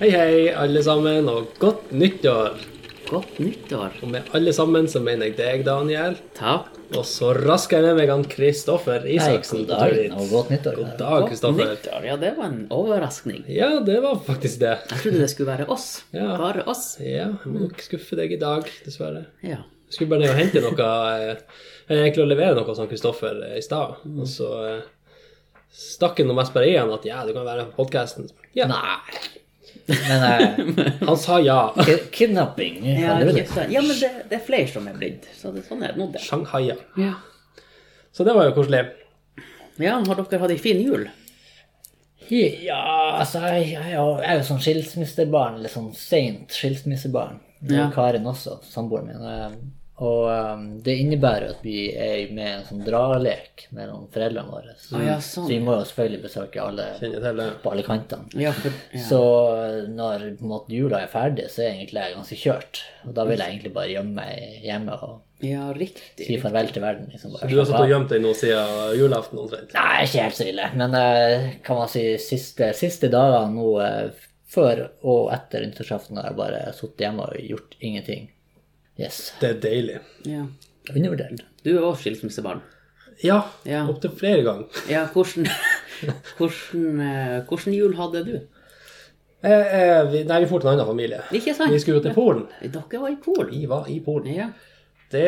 Hei, hei, alle sammen, og godt nyttår! Godt nyttår. Og med alle sammen så mener jeg deg, Daniel. Takk. Og så rasker jeg med meg han Kristoffer Isaksen. god dag, og godt nyttår. God dag, Kristoffer. Godt nyttår. Ja, det var en overraskning. Ja, det var faktisk det. Jeg trodde det skulle være oss. Ja. Bare oss. Ja, jeg må nok skuffe deg i dag, dessverre. Ja. Jeg skulle bare ned og hente noe eh, Jeg er egentlig å levere noe hos han Kristoffer eh, i stad, Mm. og så eh, stakk han noe mest bare i han at ja, du kan være med på podkasten. Ja. Nei. Men eh, Han sa ja. ki- kidnapping Ja, hadde vi det. ikke sant. ja men det, det er flere som er blitt. Så det, sånn er det nå, det. Shanghai, ja. Ja. Så det var jo koselig. ja, har dere hatt ei en fin jul? Ja, altså, jeg, jeg, jeg er jo sånn skilsmissebarn, eller sånn seint skilsmissebarn. Ja. Og Karen også, samboeren min. eh, Og eh, det innebærer at vi er med i en sånn dralek mellom foreldrene våre. Så, Ah, ja, sånn. så vi må jo selvfølgelig besøke alle Kjenner til det. på alle kantene. Ja, for, ja. Så eh, når på en måte, jula er ferdig, så er jeg egentlig jeg ganske kjørt. Og da vil jeg egentlig bare gjemme meg hjemme og ja si riktig. farvel til verden. Liksom, bare Du har slappe sittet og av. gjemt deg nå siden julaften omtrent. Nei, ikke helt så ille. Men eh, kan man si siste, siste dagene nå eh, før og etter nyttårsaften har jeg bare sittet hjemme og gjort ingenting. Yes. Det er deilig. Ja. Undervurdert. Du er også skilsmissebarn. Ja, Ja. opptil flere ganger. Ja, hvordan, hvordan, eh, hvordan jul hadde du? Eh, eh, vi, nei, vi dro til en annen familie. Ikke sant? Vi skulle jo til Polen. Dere var i Polen. Vi var i Polen. Ja. Det,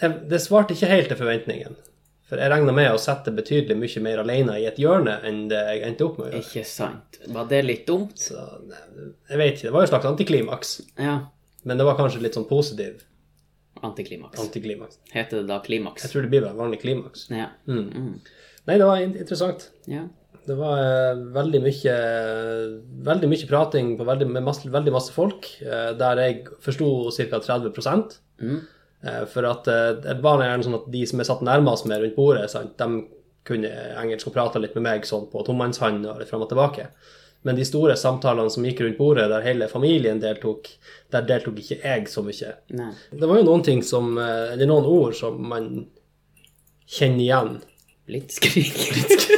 eh, det svarte ikke helt til forventningene. For jeg regna med å sette betydelig mye mer alene i et hjørne enn det jeg endte opp med å gjøre. Ikke sant. Var det litt dumt? Så, nei, jeg vet ikke, Det var jo en slags antiklimaks. Ja. Men det var kanskje litt sånn positiv Antiklimaks. antiklimaks. Heter det da klimaks? Jeg tror det blir bare en vanlig klimaks. Ja. Mm. Mm. Nei, det var in- interessant. ja. Det var eh, veldig mye, veldig mye prating på veldig, med masse, veldig masse folk, eh, der jeg forsto ca. 30 Mm. eh, For at eh, det var gjerne sånn at de som er satt nærmest meg rundt bordet, sant, de kunne engelsk og prata litt med meg sånn på tomannshånd og litt fram og tilbake. Men de store samtalene som gikk rundt bordet, der hele familien deltok, der deltok ikke jeg så mye. Nei. Det var jo noen ting som, eh, eller noen ord som man kjenner igjen. Blitzkrig.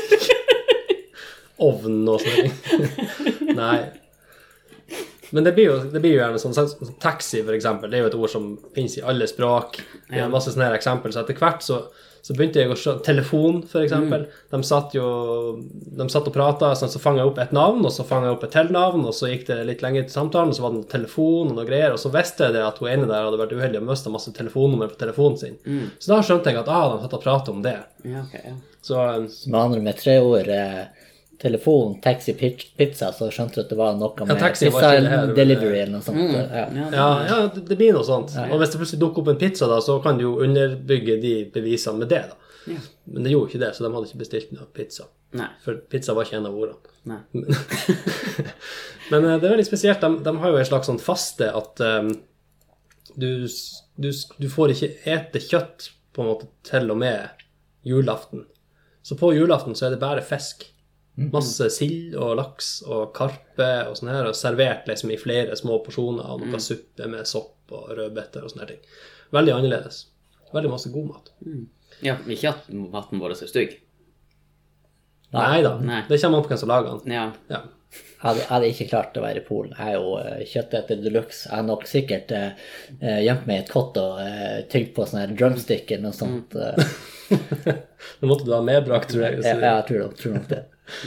ovn og sånne ting. Nei. Men det blir jo, det blir jo gjerne sånn, sånn Taxi, for eksempel, det er jo et ord som finnes i alle språk. Det er masse sånne her eksempel. Så etter hvert så, så begynte jeg å skjønne Telefon, for eksempel. De satt jo de satt og prata, sånn, så fanga jeg opp et navn, og så fanga jeg opp et til navn, og så gikk det litt lenger til samtalen, og så var det noe telefon og noe greier, og så visste jeg det at hun ene der hadde vært uheldig og mista masse telefonnummer på telefonen sin. Så da skjønte jeg at ah, de satt og prata om det. Ja, ok, ja. Så eh, Med andre med tre ord eh, telefon, taxi, pitch, pizza, så skjønte du at det var noe med taxi var pizza ikke det her, men- eh, delivery eller noe sånt. eh, Ja. Ja, det- Ja, ja det, det blir noe sånt. Og hvis det plutselig dukker opp en pizza, da, så kan du jo underbygge de bevisene med det. da. Ja. Men det gjorde ikke det, så de hadde ikke bestilt noe pizza. Nei. For pizza var ikke en av ordene. nei. Men eh, det er veldig spesielt. De, de har jo en slags sånn faste at eh, du, s- du, s- du får ikke ete kjøtt på en måte til og med julaften. Så på julaften så er det bare fisk. Masse sild og laks og karpe og sånn her, og servert liksom i flere små porsjoner og noe suppe med sopp og rødbeter og sånne her ting. Veldig annerledes. Veldig masse god mat. Ja, ikke at maten vår er stygg. Nei da, Nei. det kommer an på hvem som lager den. Ja. Ja. Jeg hadde, jeg hadde ikke klart å være i Polen. Jeg er jo eh, kjøtteter de luxe. Jeg har nok sikkert eh, eh, gjemt meg i et kott og eh, tygd på sånne her drumstick eller noe sånt. Mm. eh. Det måtte du ha medbrakt, tror jeg. jeg, så- jeg tror, nok, tror nok det.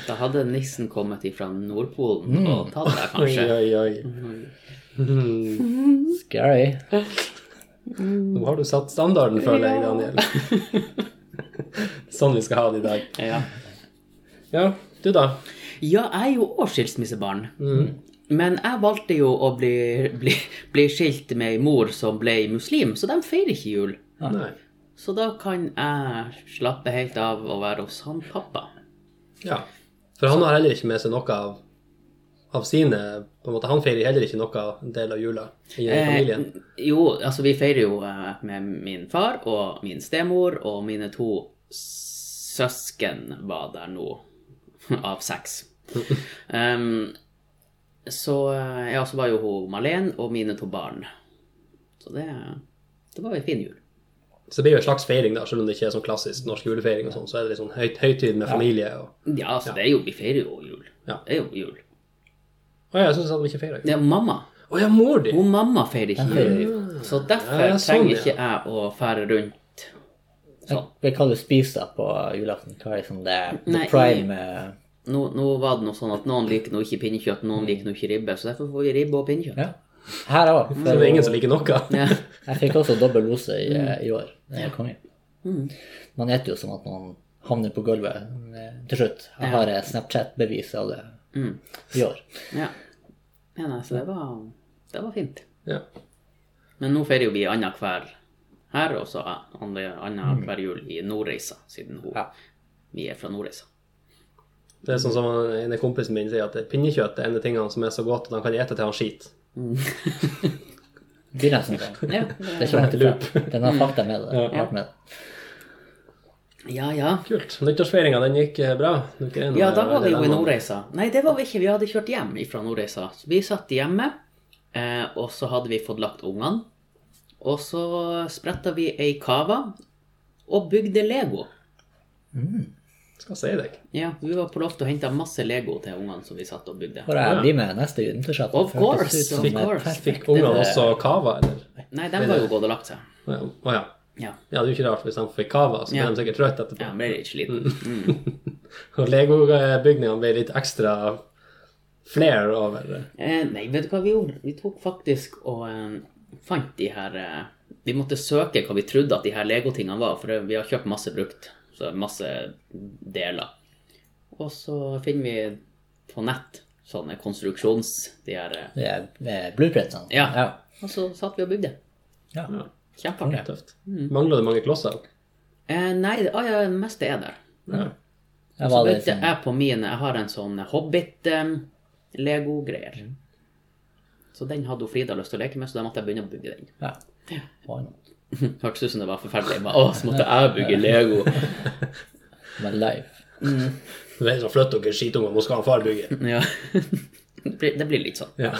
Da hadde nissen kommet ifra Nordpolen og tatt deg, Oi, kanskje. oi, oi. Scary. Nå har du satt standarden, føler jeg, Daniel. sånn vi skal ha det i dag. Ja. Ja, du da? ja, jeg er jo også skilsmissebarn. Men jeg valgte jo å bli, bli, bli skilt med ei mor som ble muslim, så de feirer ikke jul. Nei. Så da kan jeg slappe helt av og være hos han pappa. Ja. For han har heller ikke med seg noe av, av sine på en måte, Han feirer heller ikke noe en del av jula i familien. Eh, jo, altså vi feirer jo eh, med min far og min stemor, og mine to søsken var der nå, av seks. Em, så eh, ja, så var jo hun Malene og mine to barn. Så det, det var jo en fin jul. Så det blir jo en slags feiring, da, selv om det ikke er sånn klassisk norsk julefeiring. og sånn, Så er det litt sånn høyt, høytid med familie. og... Ja, altså det er jo, vi feirer jo jul. Ja. Det er jo jul. Å ja, jeg syns at de ikke feira jul. Det er mamma. Å ja, mor di! Hun mamma feirer ikke Den feirer jul. Så derfor Ja, ja, sånn, trenger ja. ikke jeg å fære rundt sånn. Hva er det du spiser da på julaften? Hva er liksom det the Nei, prime eh, Nå, nå var det noe sånn at noen liker nå ikke pinnekjøtt, noen liker nå ikke ribbe, så derfor får vi ribbe og pinnekjøtt. Mm. Ja. Her òg. Så det er ingen som liker noe. Ja. Jeg fikk også dobbel dose i, Mm. eh, i år. Det er konge. Man spiser jo som at man havner på gulvet eh, til slutt. Jeg har eh, Snapchat-bevis av det Mm. i år. ja. ja nei, så det var, det var fint. Ja. Men nå feirer jo vi annenhver her, og så Mm. annenhver jul i Nordreisa, siden hun, vi er fra Nordreisa. Det er sånn som han- en av kompisen min sier, at det er pinnekjøtt det er en av tingene som er så godt at han kan ete til han skiter. Det blir nesten sånn. Ja, Det er ikke langt ifra. Den har fakta med det. Vært med det. ja. ja. Kult. Nyttårsfeiringa, den gikk eh, bra? Dere er nå- Ja, da var vi jo i eller- Nordreisa. Nei, det var vi ikke. Vi hadde kjørt hjem fra Nordreisa. Så vi satt hjemme, eh, og så hadde vi fått lagt ungene. Og så spretta vi ei kava og bygde Lego. Skal si deg. Ja, Vi var på loftet og henta masse Lego til ungene som vi satt og bygde. Får jeg bli med neste nyttårsaften? Of course, Føltes ut som of et course. perfekt- Fikk ungene også kava, eller? Nei, de var jo gått og lagt seg. Å ja. Å ja. Ja, Ja, det er jo ikke rart hvis de fikk kava, så ble Ja. de sikkert trøtte ja etterpå. ble litt sliten. Og legobygningene ble litt ekstra flair over det. Eh, nei, vet du hva vi gjorde? Vi tok faktisk og eh, fant de her eh, Vi måtte søke hva vi trodde at de her legotingene var, for vi har kjøpt masse brukt. Så masse deler. Og så finner vi på nett sånne konstruksjons... De her, eh, Det er eh, blueprintsene. Ja. ja. og så satt vi og bygde. Ja. Ja, Kjempeartig. tøft. Mm. Mangler det mange klosser? Eh, nei, det ah, ja, det meste er der. Ja. Jeg Så var litt bytte sånn, jeg Altså, på min Jeg har en sånn hobbit-legogreier. Så den hadde hun Frida lyst til å leke med, så da måtte jeg begynne å bygge den. ja. Oi, nå. Hørtes ut som det var forferdelig. Bare, Å, så måtte jeg bygge Lego. Men live. Det er som flytter dere skitunger, nå skal han far bygge. Ja. Det blir- Det blir litt sånn. Ja.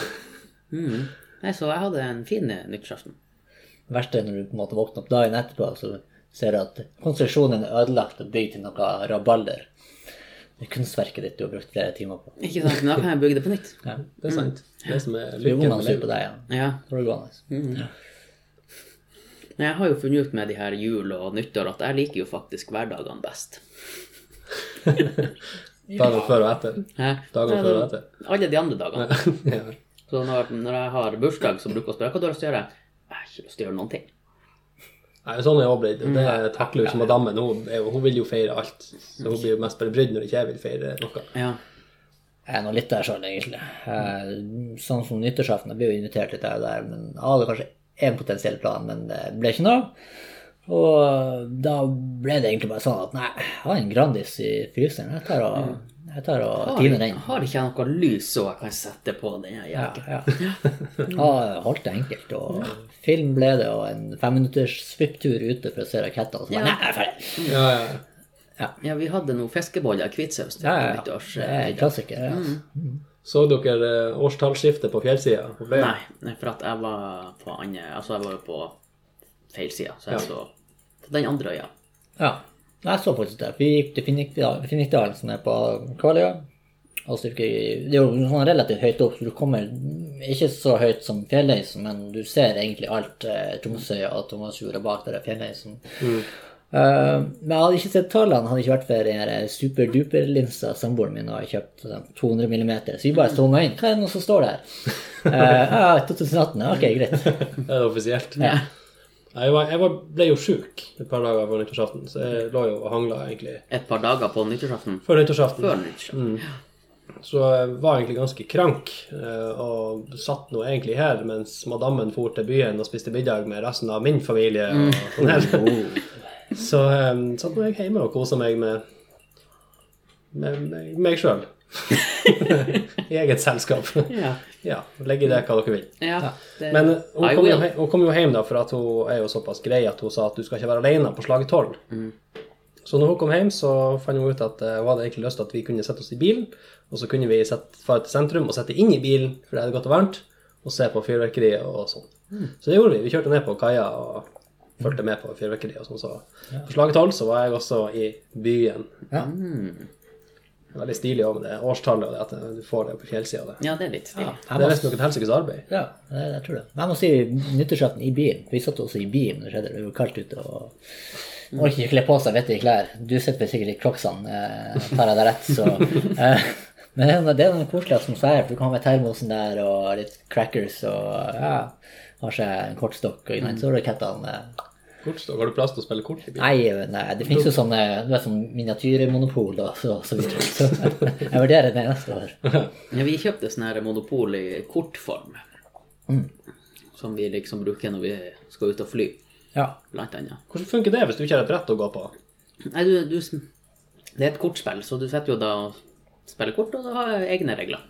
Mm. Nei, så jeg hadde en fin eh, nyttårsaften. Det verste er når du på en måte våkner opp dagen etterpå, så ser du at konstruksjonen er ødelagt og bygd til noe rabalder. Det er kunstverket ditt du har brukt flere timer på. Ikke sant, men da kan jeg bygge det på nytt. Ja. Det er sant. Det som er Blir lykken Mm. ungene med sure på livet. deg igjen? Ja. Da er det gående. Men jeg har jo funnet ut med de her jul og nyttår at jeg liker jo faktisk hverdagene best. Dagen før og etter. Hæ? Dagene Nei, før og det- etter. Alle de andre dagene. Ja. Så når, når jeg har bursdag, så bruker jeg å spørre hva du har lyst til å gjøre. Jeg har ikke lyst til å gjøre noen ting. Nei, sånn er jeg også blitt. Mm. Det takler jo ikke madammen. Hun, er jo- hun vil jo feire alt. Så hun blir jo mest bare brydd når ikke jeg vil feire noe. Ja. Jeg er nå litt der sjøl, egentlig. Eh, Sånn som nyttårsaften, jeg blir jo invitert litt der og der, men jeg hadde kanskje én potensiell plan, men det ble ikke noe. Og da ble det egentlig bare sånn at nei, jeg har en Grandis i fryseren. Jeg tar og, Mm. jeg tar og Har, tiner den. har ikke jeg noe lys så jeg kan sette på den her Ja, jakken? ja. ja, holdt det enkelt. Og film ble det, og en femminutters svipptur ute for å se raketter. Og så bare, nei, jeg er ferdig. Ja, ja. Ja, vi hadde noen fiskeboller i hvitsaus til Ja, ja, ja. nyttårs. Det er en eh, klassiker. Ja. Mm. Så dere eh, årstallsskiftet på fjellsida? På Bøya? Nei, eh, nei, for at jeg var på andre Altså, jeg var jo på feil side, så jeg så på den andre øya. Ja. Jeg så faktisk det. Vi gikk til Finnikdal- Finnikdalen, som er på Kvaløya. Og så gikk vi- Det er jo sånn relativt høyt opp, så du kommer ikke så høyt som fjellheisen, men du ser egentlig alt eh, Tromsø og Tomasjorda bak der er fjellheisen. Mm. Eh, men jeg hadde ikke sett tallene, hadde ikke vært for den her superduper-linsa samboeren min har kjøpt, sånn 200 millimeter. Så vi Mm. bare zooma inn. Hva er det nå som står der? Eh, Ja, 2018. ja, Ok, greit. Det er offisielt. Nei, Jeg, var, jeg var, ble jo sjuk et par dager før nyttårsaften, så jeg lå jo og hangla egentlig Et par dager på nyttårsaften før nyttårsaften. før Mm. nyttårsaften. Så jeg var egentlig ganske krank, eh, og satt nå egentlig her mens madammen for til byen og spiste middag med resten av min familie. Mm. og sånn her. Oh. Så eh, satt nå jeg hjemme og kosa meg med, med, med meg sjøl. I eget selskap. Ja. Ja. Legg i det hva dere vil. ja. Det, eh, Men eh, hun eh, I kom, jo, will. he- hun kom jo hjem da, for at hun er jo såpass grei at hun sa at du skal ikke være alene på slaget 12. Mm. Så når hun kom hjem, så fant hun ut at eh, hun hadde egentlig lyst til at vi kunne sette oss i bilen, og så kunne vi sette, fare til sentrum og sette inn i bilen, for det er godt og varmt, og se på fyrverkeriet og sånn. Mm. Så det gjorde vi. Vi kjørte ned på kaia og fulgte med på mm. fyrverkeriet og sånn. Så på slaget 12 så var jeg også i byen. Ja. Veldig stilig òg med det årstallet og det at du får det på fjellsida der. Ja, det er litt stilig. Det er nesten noe helsikes arbeid. Ja, jeg, jeg tror det. Men jeg må si nyttårsaften i bilen. Vi satt også i bilen når det skjedde. Det var kaldt ute og man orker ikke kle på seg vettige klær. Du sitter vel sikkert i crocsene, eh, tar jeg deg rett, så eh, Men det er noe- det er noe koselig at som sier, for du kan ha med termosen der og litt crackers og ja, har seg en kortstokk og Nightsor-rakettene. Kortstokk. Har du plass til å spille kort i bilen? Nei, nei, det finnes jo sånne du vet, sånn miniatyrmonopol og så, så videre. Så jeg vurderer det neste år. Ja, vi kjøpte sånn her monopol i kortform. Mm. Som vi liksom bruker når vi skal ut og fly, Ja. blant annet. Hvordan funker det hvis du ikke har et brett å gå på? Nei, du, du sm- Det er et kortspill, så du setter jo da og spiller kort, og du har egne regler.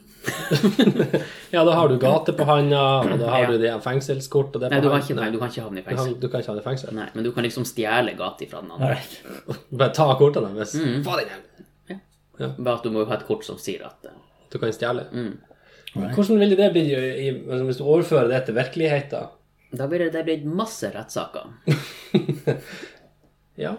Ja, da har du gate på handa, og da har Ja. du de her fengselskort og det på Nei, du, har handa. ikke, nei, du kan ikke havne i Du kan, fengsel. du kan ikke ha det i fengsel. Nei, men du kan liksom stjele gata fra den andre. Alright. Du Bare ta kortene deres. Mm. Få deg den! Bare at du må jo ha et kort som sier at eh, Du kan stjele. Mm. Hvordan ville det blitt i- i- altså, hvis du overfører det til virkeligheten? Da blir det, det blir masse rettssaker. Ja.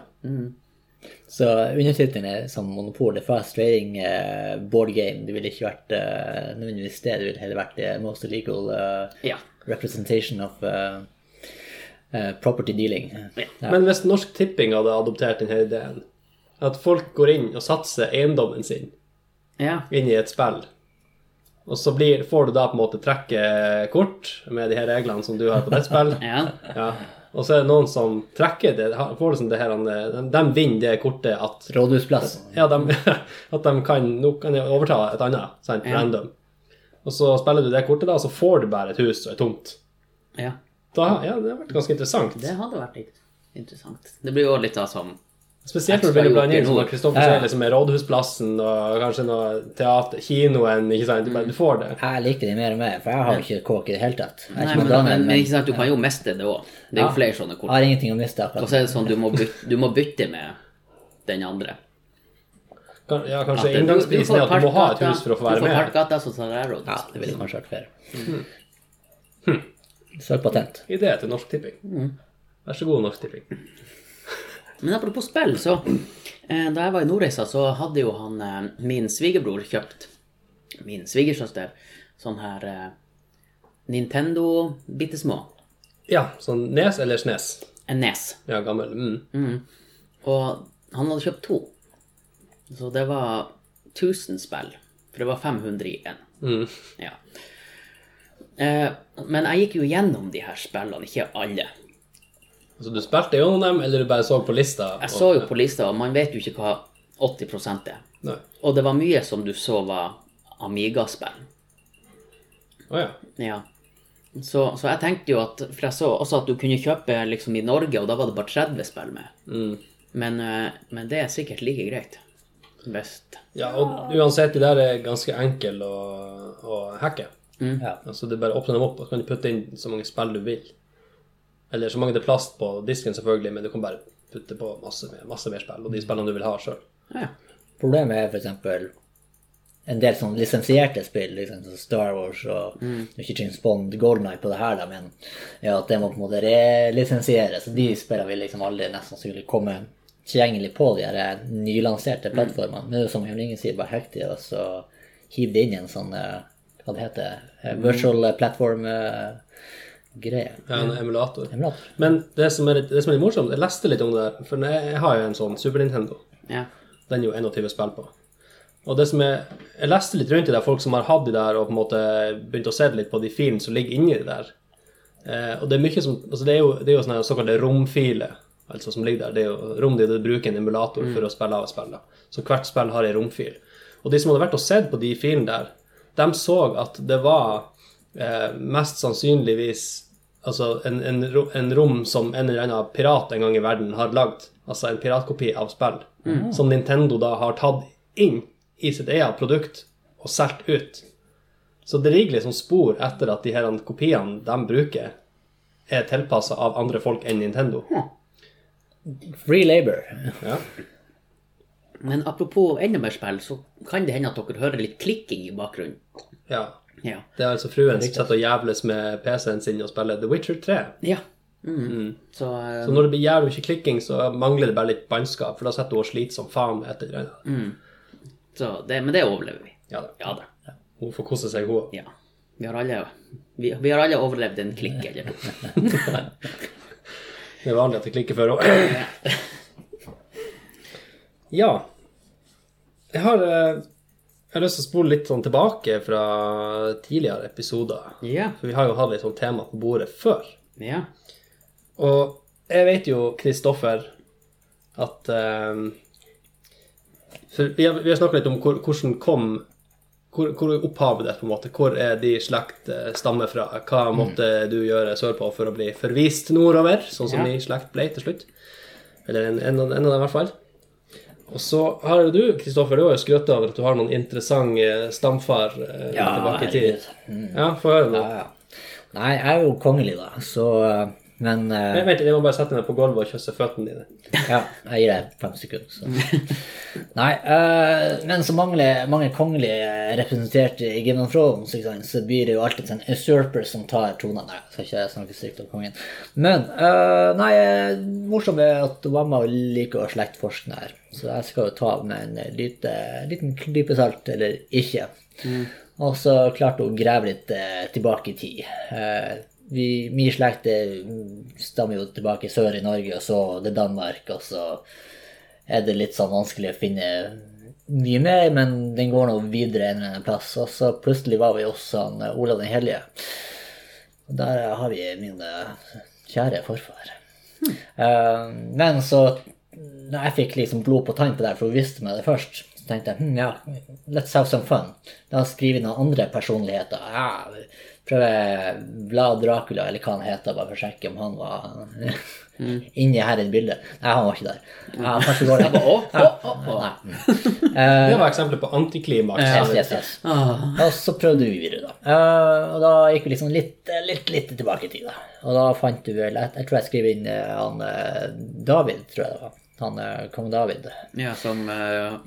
Så undertittelen er som monopol. The fast trading eh, board game. Det ville ikke vært eh, nødvendigvis det. Det ville heller vært the most illegal eh, Ja. representation of eh, eh, property dealing. Ja. Men hvis Norsk Tipping hadde adoptert denne ideen, at folk går inn og satser eiendommen sin Ja. inn i et spill, og så blir, får du da på en måte trekke kort med de her reglene som du har på ditt spill, ja. ja. og så er det noen som trekker det, har- får liksom det her, de, de vinner det kortet at Rådhusplassen. ja, de, at de kan, nå kan jeg overta et annet, sant, Ja. random. Og så spiller du det kortet da, og så får du bare et hus og et tomt. ja. Da, ja, det har vært ganske interessant. Det hadde vært litt interessant. Det blir jo litt da som Spesielt når du Ekstra begynner å blande inn joker nå. sånn Kristoffer Ja, ja. Sehle som er Rådhusplassen, og kanskje noe teater, kinoen, ikke sant, Mm. du, bare, du får det. Jeg liker det mer og mer, for jeg har jo ikke kåk i det hele tatt. Jeg er Nei, ikke men, med Daniel, men, men men ikke sant, du kan jo miste det òg. Det er jo flere sånne jeg kort. har ingenting å miste Og akkurat. så er det sånn du må bytte, du må bytte med den andre. Kan- Ja, At kanskje du- du inngangsprisen får er at du må ha et parkgata- hus for å få være Du får med. parkgata som tar deg råd. Ja, det ville kanskje vært Hm. fair. Hmm. Søk patent. Idé til Norsk Tipping. Mm. Vær så god, Norsk Tipping. Men apropos spill, så eh, da jeg var i Nordreisa, så hadde jo han eh, min svigerbror kjøpt min svigersøster sånn her eh, Nintendo bitte små. Ja, sånn Nes eller Snes? En nes. Ja, gammel. Mm. Og han hadde kjøpt to. Så det var 1000 spill. For det var 500 i én. Ja. Eh, men jeg gikk jo gjennom de her spillene, ikke alle. Så du spilte gjennom dem, eller du bare så på lista? Jeg så jo på lista, og man vet jo ikke hva 80 er. Nei. Og det var mye som du så var Amiga-spill. Å ja. Ja. Så, så jeg tenkte jo at For jeg så også at du kunne kjøpe liksom i Norge, og da var det bare 30 spill med. Men, eh, men det er sikkert like greit. Best. Ja, og uansett, de der er ganske enkle å, å hacke. Hmm. Ja. Altså, det er bare å åpne dem opp, og så kan du putte inn så mange spill du vil. Eller så mange det er plass på disken, selvfølgelig, men du kan bare putte på masse mer, masse mer spill, og de spillene du vil ha sjøl. Ja. Problemet er f.eks. en del sånn lisensierte spill, liksom som Star Wars og Mm. ikke James Bond, Golden Eye på det her, da, men ja, at det må på en måte relisensieres. De spillene vil liksom aldri nesten skulle komme tilgjengelig på de her nylanserte Mm. plattformene. Men det er jo som Jan Inge sier, bare hekk de, og så hiv det inn i en sånn eh, hva det heter, eh, virtual platform-greie. Mm. Ja, en emulator. Emulator. Men det som er litt, det som er litt morsomt, jeg leste litt om det der, for jeg, jeg har jo en sånn Super Nintendo. ja. Den er jo 21 spill på. Og det som er, Jeg leste litt rundt i det, folk som har hatt de der, og på en måte begynt å se litt på de filene som ligger inni det der. Eh, og det er mye som, altså det er jo, det er jo sånne såkalte romfiler altså som ligger der. Det er jo rom der du bruker en emulator for å spille av et spill. da. Så hvert spill har en romfil. Og de som hadde vært og sett på de filene der, de så at det var eh, mest sannsynligvis altså en, en, ro- en rom som en eller annen pirat en gang i verden har lagd. Altså en piratkopi av spill. Som Nintendo da har tatt inn i sitt eget produkt og solgt ut. Så det ligger liksom spor etter at de her kopiene de bruker, er tilpassa av andre folk enn Nintendo. Free labor. Ja. Men apropos enda mer spill, så kan det hende at dere hører litt klikking i bakgrunnen. ja. Ja. Det er altså fruen som sitter og jævles med PC-en sin og spiller The Witcher 3. ja. Mm. Så, eh, Så når det blir jævlig mye klikking, så mangler det bare litt bannskap, for da sitter hun og sliter som faen med et eller annet. Så det, men det overlever vi. Ja da. Ja da. Hun får kose seg, hun. Ja. Vi har alle, vi, vi har alle overlevd en klikk eller to. Det er vanlig at det klikker for henne. ja. Jeg har, eh, jeg har lyst til å spole litt sånn tilbake fra tidligere episoder. Ja. For vi har jo hatt litt sånn tema på bordet før. ja. Og jeg vet jo, Kristoffer, at eh, For vi har, vi har snakka litt om hvor, hvordan kom hvor, hvor er opphavet ditt, på en måte? Hvor er de slekt eh, stammer fra? Hva Mm. måtte du gjøre sørpå for å bli forvist nordover, sånn som Ja. din slekt ble til slutt? Eller en, en, av- en av dem, i hvert fall. Og så har jo du, Kristoffer, du har jo skrøt over at du har noen interessant eh, stamfar eh, Ja, tilbake i tid. herregud. Mm. Ja, få høre nå. Ja, ja. Nei, jeg er jo kongelig, da, så eh, Men eh, Men Vent litt, jeg må bare sette meg på gulvet og kysse føttene dine. Ja, jeg gir deg fem sekunder. Så. Nei, eh, men så mange, mange kongelige er representert i Game of Thrones, ikke sant, så blir det jo alltid en usurper som tar tronen. Nei, jeg skal ikke snakke stygt om kongen. Men eh, nei, eh, morsomt er at Obama liker å slektforske her, så jeg skal jo ta med en lite, liten klype salt, eller ikke. Og så klarte hun å grave litt eh, tilbake i tid. Eh, vi, min slekt eh, stammer jo tilbake sør i Norge, og så det er Danmark, og så er det litt sånn vanskelig å finne mye mer, men den går nå videre en eller annen plass. Og så plutselig var vi hos han, eh, Olav den hellige. Og der eh, har vi min eh, kjære forfar. Hm. Eh, men så når jeg fikk liksom blod på tann på det, her, for hun visste meg det først, så tenkte jeg hm, ja, let's have some fun. La oss skrive inn noen andre personligheter. Ja, prøve Vlad Dracula, eller hva han heter, bare for å sjekke om han var Mm. inni her i bildet. Nei, han var ikke der. Ja, kanskje går det. Å, Mm. å, å, å. Nei. Eh, Det var eksempler på antiklimaks. Yes, yes, yes. Ah, Og så prøvde vi videre, da. Eh, og da gikk vi liksom litt, litt, litt tilbake i tid, da. Og da fant du vel Jeg, jeg tror jeg skrev inn eh, han eh, David, tror jeg det var. Han eh, kong David. ja, som eh,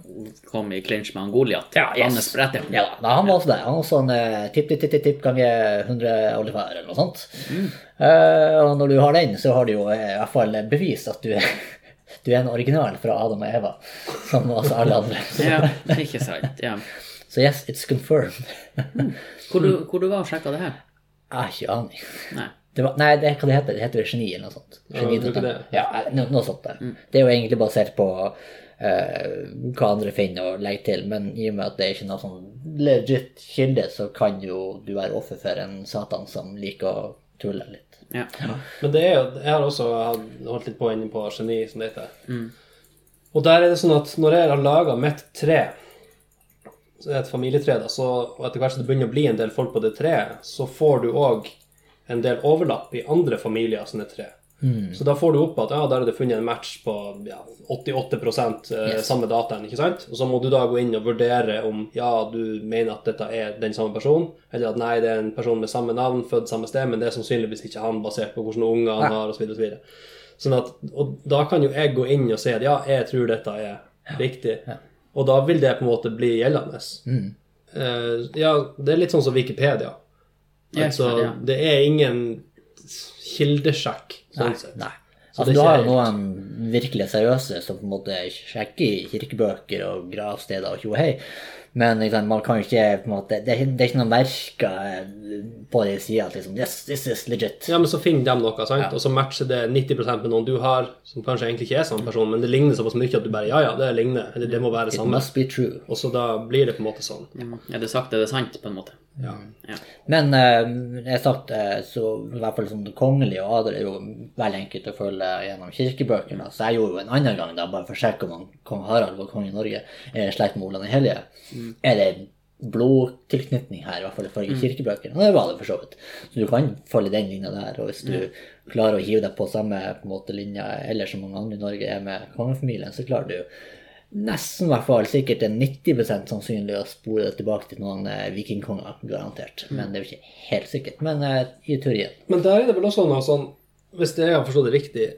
kom i clinch med Angoliat. Ja, yes. Anders Bretter. Ja da, nei, han var også der. Han var sånn eh, tipp-tipp-tipp ganger 100 Oliver eller noe sånt. Eh, og når du har den, så har du jo eh, i hvert fall bevist at du er, du er en original fra Adam og Eva, som oss alle andre. Ja, ikke sant. Ja. Så yes, it's confirmed. Hvor, du, hvor du var og sjekka det her? Jeg har ikke aning. Nei. Det var, nei, det, hva det heter det? heter det Geni eller noe sånt. Geni, Ja, det er ikke det. Mm. Ja, no, noe sånt der. Det er jo egentlig basert på eh, hva andre finner og legger til, men i og med at det er ikke noe sånn legit kilde, så kan jo du være offer for en satan som liker å tulle litt. Ja. Men det er jo, jeg har også hatt- holdt litt på inne på geni, som det heter. Og der er det sånn at når jeg har laga mitt tre, så er det et familietre, da, så, og etter hvert som det begynner å bli en del folk på det treet, så får du òg en del overlapp i andre familier sine tre. Så da får du opp at ja, der er det funnet en match på ja, 88 eh, samme dataen, ikke sant? Og så må du da gå inn og vurdere om ja, du mener at dette er den samme personen, eller at nei, det er en person med samme navn, født samme sted, men det er sannsynligvis ikke han, basert på hvordan unger han har, osv. osv. Sånn at, og da kan jo jeg gå inn og si at ja, jeg tror dette er riktig. Og da vil det på en måte bli gjeldende. Mm. Eh, ja, det er litt sånn som Wikipedia. Ja, Altså, ja. det er ingen kildesjekk, sånn sett. Nei. det Altså, er du ikke har jo helt- noen virkelig seriøse som på en måte sjekker kirkebøker og gravsteder og tjo og hei, men liksom, man kan jo ikke på en måte, det, er ikke- det er ikke noen merker eh, på de sidene at liksom, yes, this is legit. Ja, men så finner de noe, sant? og så matcher det 90 med noen du har, som kanskje egentlig ikke er samme person, men det ligner såpass mye at du bare ja, ja, det ligner, eller det må være It samme. must be true. Og så da blir det på en måte sånn. Er det sagt, er det sant, på en måte? Ja. Ja. Men eh, jeg sagt, eh, så i hvert fall som det kongelige og adel er jo veldig enkelt å følge gjennom kirkebøkene. Så jeg gjorde jo en annen gang, da, bare for å sjekke om han, kong Harald var konge i Norge, er i slekt med Olav den hellige. Er det blodtilknytning her, i hvert fall ifølge kirkebøkene? Og det var det for så vidt. Så du kan følge den linja der. Og hvis du klarer å hive deg på samme på en måte, linja ellers som mange andre i Norge er med kongefamilien, så klarer du nesten i hvert fall sikkert en 90 sannsynlig å spore det tilbake til noen eh, vikingkonger, garantert. Men det er jo ikke helt sikkert. Men eh, i teorien. Men der er det vel også noe sånn, hvis jeg har forstått det riktig,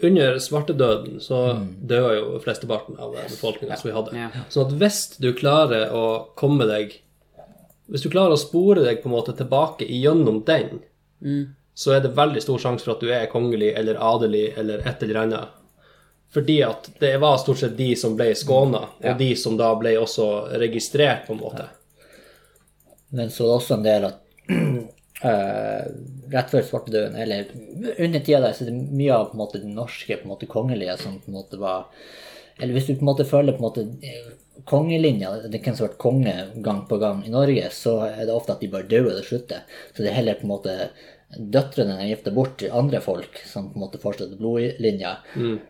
under svartedøden så dør jo flesteparten av befolkninga som vi hadde. Ja. Sånn at hvis du klarer å komme deg Hvis du klarer å spore deg på en måte tilbake gjennom den, Mm. så er det veldig stor sjanse for at du er kongelig eller adelig eller et eller annet. Fordi at det var stort sett de som ble skåna, Ja. og de som da ble også registrert, på en måte. Men så er det også en del at eh, rett før svartedauden, eller under tida der, så er det mye av på en måte, det norske på en måte, kongelige som på en måte var Eller hvis du på en måte følger på en måte eh, kongelinja, det er hvem som har vært konge gang på gang i Norge, så er det ofte at de bare dør eller slutter. Så det er heller på en måte døtrene er gifta bort til andre folk som på en måte fortsetter blodlinja.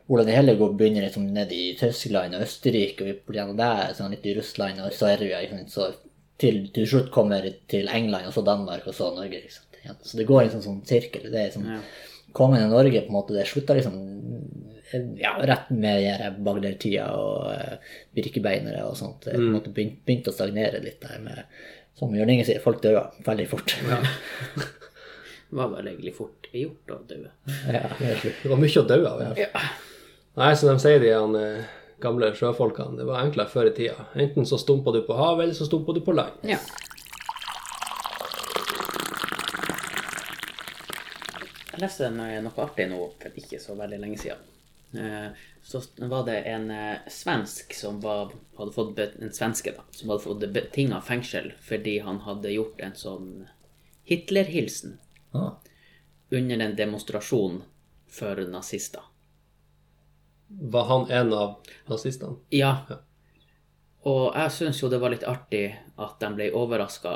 Hvordan det heller går begynner liksom ned i Tyskland og Østerrike og opp gjennom der, sånn litt i Russland og Serbia, ikke sant, så til til slutt kommer til England, og så Danmark, og så Norge. Liksom. Ja, Så det går i en sånn, sånn sirkel. Det er liksom, Kongen i Norge på en måte, det slutta liksom ja, rett med de her baglertida og eh, birkebeinere og sånt. Det på en måte begynte, begynte å stagnere litt der med Som Jørn Inge sier, folk dør veldig fort. Det Ja. var vel egentlig fort gjort å dø. det er slutt. Det var mye å dø av. i hvert fall. Nei, som de sier, de han, eh, gamle sjøfolkene, det var enklere før i tida. Enten så stumpa du på havet, eller så stumpa du på land. Ja. Jeg leste eh, noe noe artig nå for ikke så veldig lenge siden. Eh, Så var det en eh, svensk som var, hadde fått be- en svenske da, som hadde fått betinga fengsel fordi han hadde gjort en sånn Hitler-hilsen Ah, under en demonstrasjon for nazister. Var han en av nazistene? Ja. Og jeg syns jo det var litt artig at de ble overraska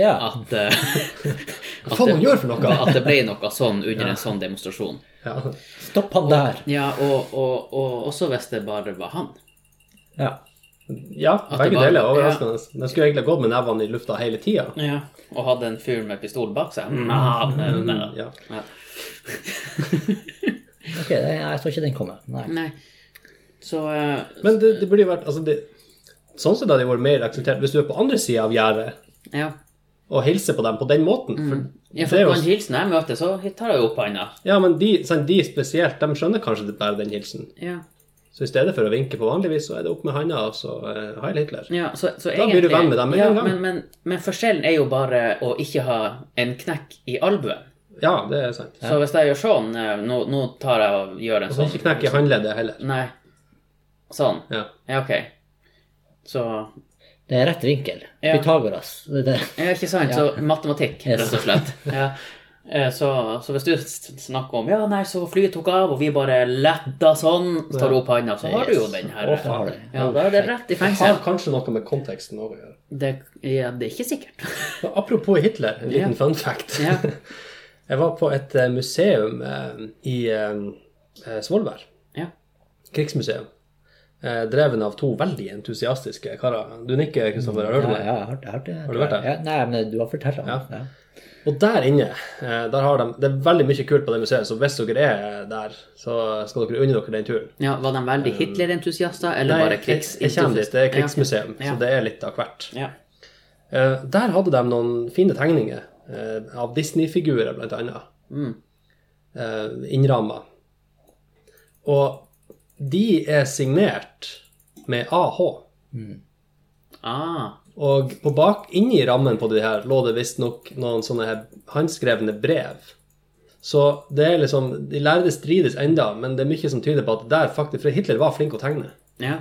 ja. at, eh, Hva faen det- han gjør for noe? at det ble noe sånn under en sånn demonstrasjon. Ja. Stopp han der! Ja, og, og, og også hvis det bare var han. Ja. ja, At det begge var- deler er overraskende. De skulle egentlig gått med nevene i lufta hele tida. Og hadde en fyr med pistol bak seg. Mm. Nah, nah, nah. Ja. Ja. Ok, det, jeg så ikke den komme. Nei. Nei. Så eh, Men det, det burde jo vært altså det, Sånn sett hadde det vært mer akseptert hvis du er på andre sida av gjerdet ja. og hilser på dem på den måten. Mm. For det ja er for jo- på en hilsen jeg møter, så tar jeg jo opp handa. ja, men de, sant, de spesielt, de skjønner kanskje det bare den hilsen. Ja. Så i stedet for å vinke på vanlig vis, så er det opp med handa, og så eh, Heil Hitler. Ja, så, så Da blir du venn med dem med ja, en gang. Men, men, men forskjellen er jo bare å ikke ha en knekk i albuen. Ja, det er sant. Så hvis jeg gjør sånn eh, Nå, nå tar jeg og gjør en Og så sånn. ikke knekke håndleddet heller. Nei. Sånn. Ja. Ja, ok. Så Det er rett vinkel. Ja. Pythagoras. Det, det. Ja, ikke sant? Så matematikk, Yes. rett og slett. Ja. Eh, Så, så hvis du s- snakker om Ja, nei, så flyet tok av, og vi bare letta sånn, så tar du opp handa, så har du jo Yes. den her. eh, Å, faen. Ja, da er det rett i Det har fengsel. kanskje noe med konteksten også å gjøre. Det, ja, det er ikke sikkert. Men Apropos Hitler, en liten fun fact. Ja. Jeg var på et eh, museum eh, i eh, Svolvær. Ja. Krigsmuseum. Eh, dreven av to veldig entusiastiske karer. Du nikker, Kristoffer. Har du Ja, hørt om ja, det? jeg har, jeg har, det. Har du vært der? Ja, nei, men du har fortalt om det. Ja. Og der inne, eh, der har de Det er veldig mye kult på det museet, så hvis dere er der, så skal dere unne dere den turen. ja, Var de veldig Hitler-entusiaster, eller bare jeg, jeg kommer dit. krigsentusiaster? Det er krigsmuseum, så det er litt av hvert. Ja. Eh, der hadde de noen fine tegninger eh, av Disney-figurer, blant annet. Eh, innramma. Og de er signert med AH. Ah, Og på bak, inni rammen på de her lå det visstnok noen sånne her håndskrevne brev. Så det er liksom De lærde strides enda, men det er mye som tyder på at der faktisk For Hitler var flink å tegne. ja.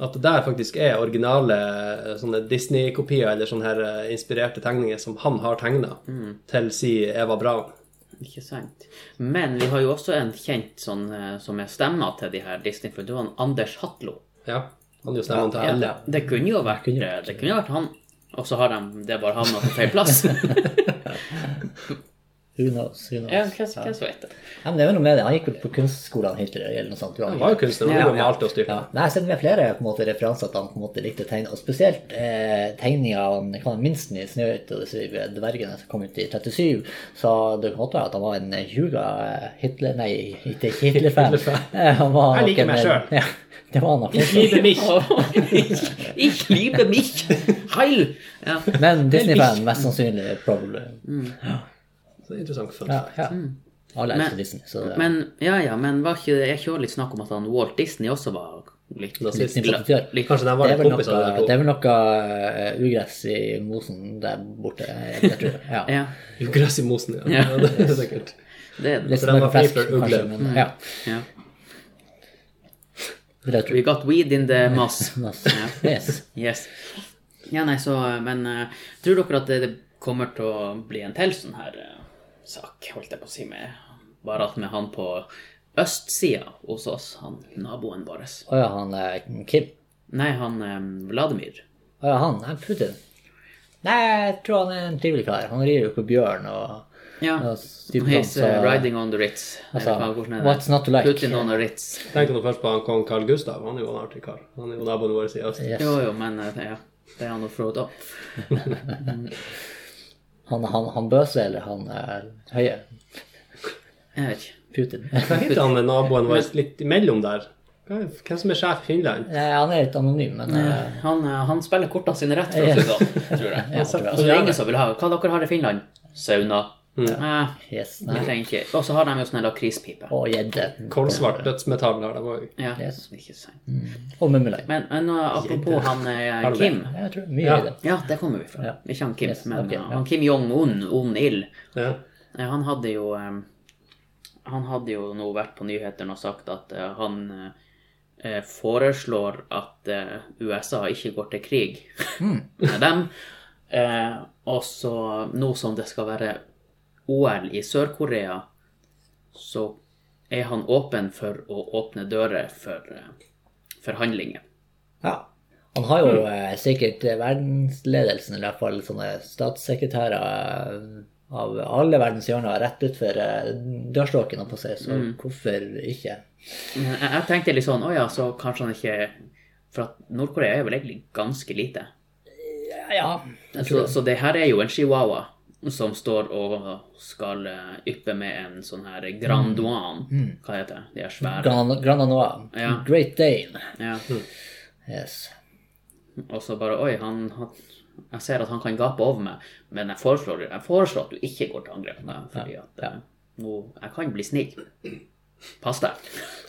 At det der faktisk er originale eh, sånne Disney-kopier eller sånne her eh, inspirerte tegninger som han har tegna Mm. til si Eva Braun. Ikke sant. Men vi har jo også en kjent sånn, eh, som er stemma til de her Disney-filmene, Anders Hatlo. Ja. Han er jo stemmen til alle. Ja, det kunne jo vært, eh, det kunne jo vært han. Og så har de det bare havna på feil plass. Who knows, who knows. ja, hva, hva så vet jeg. Ja, men det er vel noe med det. Han gikk vel på kunstskolen Hitler eller noe sånt. jo, Han Han var jo kunstner. Han Ja, ja, malte og styrte. Ja. Nei, jeg har sett med flere på en måte, referanser at han på en måte likte å tegne, og spesielt eh, tegninga av han- hva han minsten i 'Snøhvit og de syv dvergene' som kom ut i 37, så det kan godt være at han var en juga eh, Hitler... Nei, ikke Hitler-fan. Eh, han var Jeg liker nok en- meg selv. Ja, det var han nok også. Liebe mich. Åh, Ich liebe mich! Heil! Ja. Men Disney-fan, mest sannsynlig. Probably. Mm. Så det er interessant fun Ja, fact. ja. Alle Men- elsker Disney, så det er Men ja, ja, men var ikke det jeg hører litt snakk om at han Walt Disney også var litt Nazist. sympatisør. litt- Kanskje de Det var er litt vel noe, kompiser, de det to. er vel noe eh, ugress i mosen der borte. eh, Jeg tror. Ja. Ja, Jo, gress i mosen, ja. Ja. ja. det er sikkert. det er det. Litt For de var smør Mm. og flesk, fri for ugle. kanskje, men ja. Ja. vil jeg tro. We got weed in the moss. Mas- Ja. Yes. Yes. Ja, nei, så Men eh, tror dere at det, det kommer til å bli en til sånn her eh, sak, holdt jeg på å si, med bare at med han på østsida hos oss, han naboen vår Å ja, han eh, Kim. Nei, han eh, Vladimir. Å ja, han. Nei, Putin. Nei, jeg tror han er en trivelig kar. Han rir jo på bjørn og, Ja. og styrer på He's eh, sånn, så- riding on the Ritz. Jeg Altså, vet ikke hvordan det er. what's not to like? Putin on the Ritz. Tenk nå først på han kong Carl Gustav. Han er jo en artig kar. Han er jo naboen vår i øst. Yes. Jo, jo, men eh, det- ja. det er han og Frodo. Han, han, han Bøse eller han eh, Høie? Jeg vet ikke. Putin. Hva heter han med naboen vår litt imellom der? Hva er- Hvem som er sjef i Finland? Nei, han er litt anonym, men eh, Han, eh, han spiller kortene sine rett fra Sudan, sånn, tror jeg. Ja, tror jeg. Og så er det ingen som vil ha Hva dere har i Finland? Sauna. Eh, yes. vi Nei. trenger ikke Og så har de jo sånn lakrispipe. Og gjedde. Kolsvart dødsmetall har de òg. Ja, Yes. ikke sant. Og mummelei. Men, men eh, apropos han eh, Har du det? Kim. Jeg tror mye Ja. i det. Ja, det kommer vi fra. Ja. Ikke han Kim, Yes, men ok, eh, ja. han Kim Jong-un, On Il. Ja. Eh, Han hadde jo eh, Han hadde jo nå vært på nyhetene og sagt at eh, han eh, foreslår at eh, USA ikke går til krig med dem. Eh, og så nå som det skal være OL i Sør-Korea, så er han åpen for å åpne dører for eh, forhandlinger. Ja. Han har jo Mm. eh, sikkert eh, verdensledelsen, eller i hvert fall sånne statssekretærer eh, av alle verdens hjørner rett utfor eh, dørstokken, holdt på å si, så Mm. hvorfor ikke? Men jeg, jeg tenkte litt sånn Å ja, så kanskje han ikke For at Nord-Korea er vel egentlig ganske lite. Ja, ja. Så, så det her er jo en chihuahua som står og skal eh, yppe med en sånn her grand duan. Hva heter det? De er svære. Gran, Grana Noa. Ja. Great Dane. Ja. Yes. Og så bare Oi, han, han jeg ser at han kan gape over meg, men jeg foreslår, jeg foreslår at du ikke går til angrep på meg, fordi at eh, nå Jeg kan bli snill. Pass deg.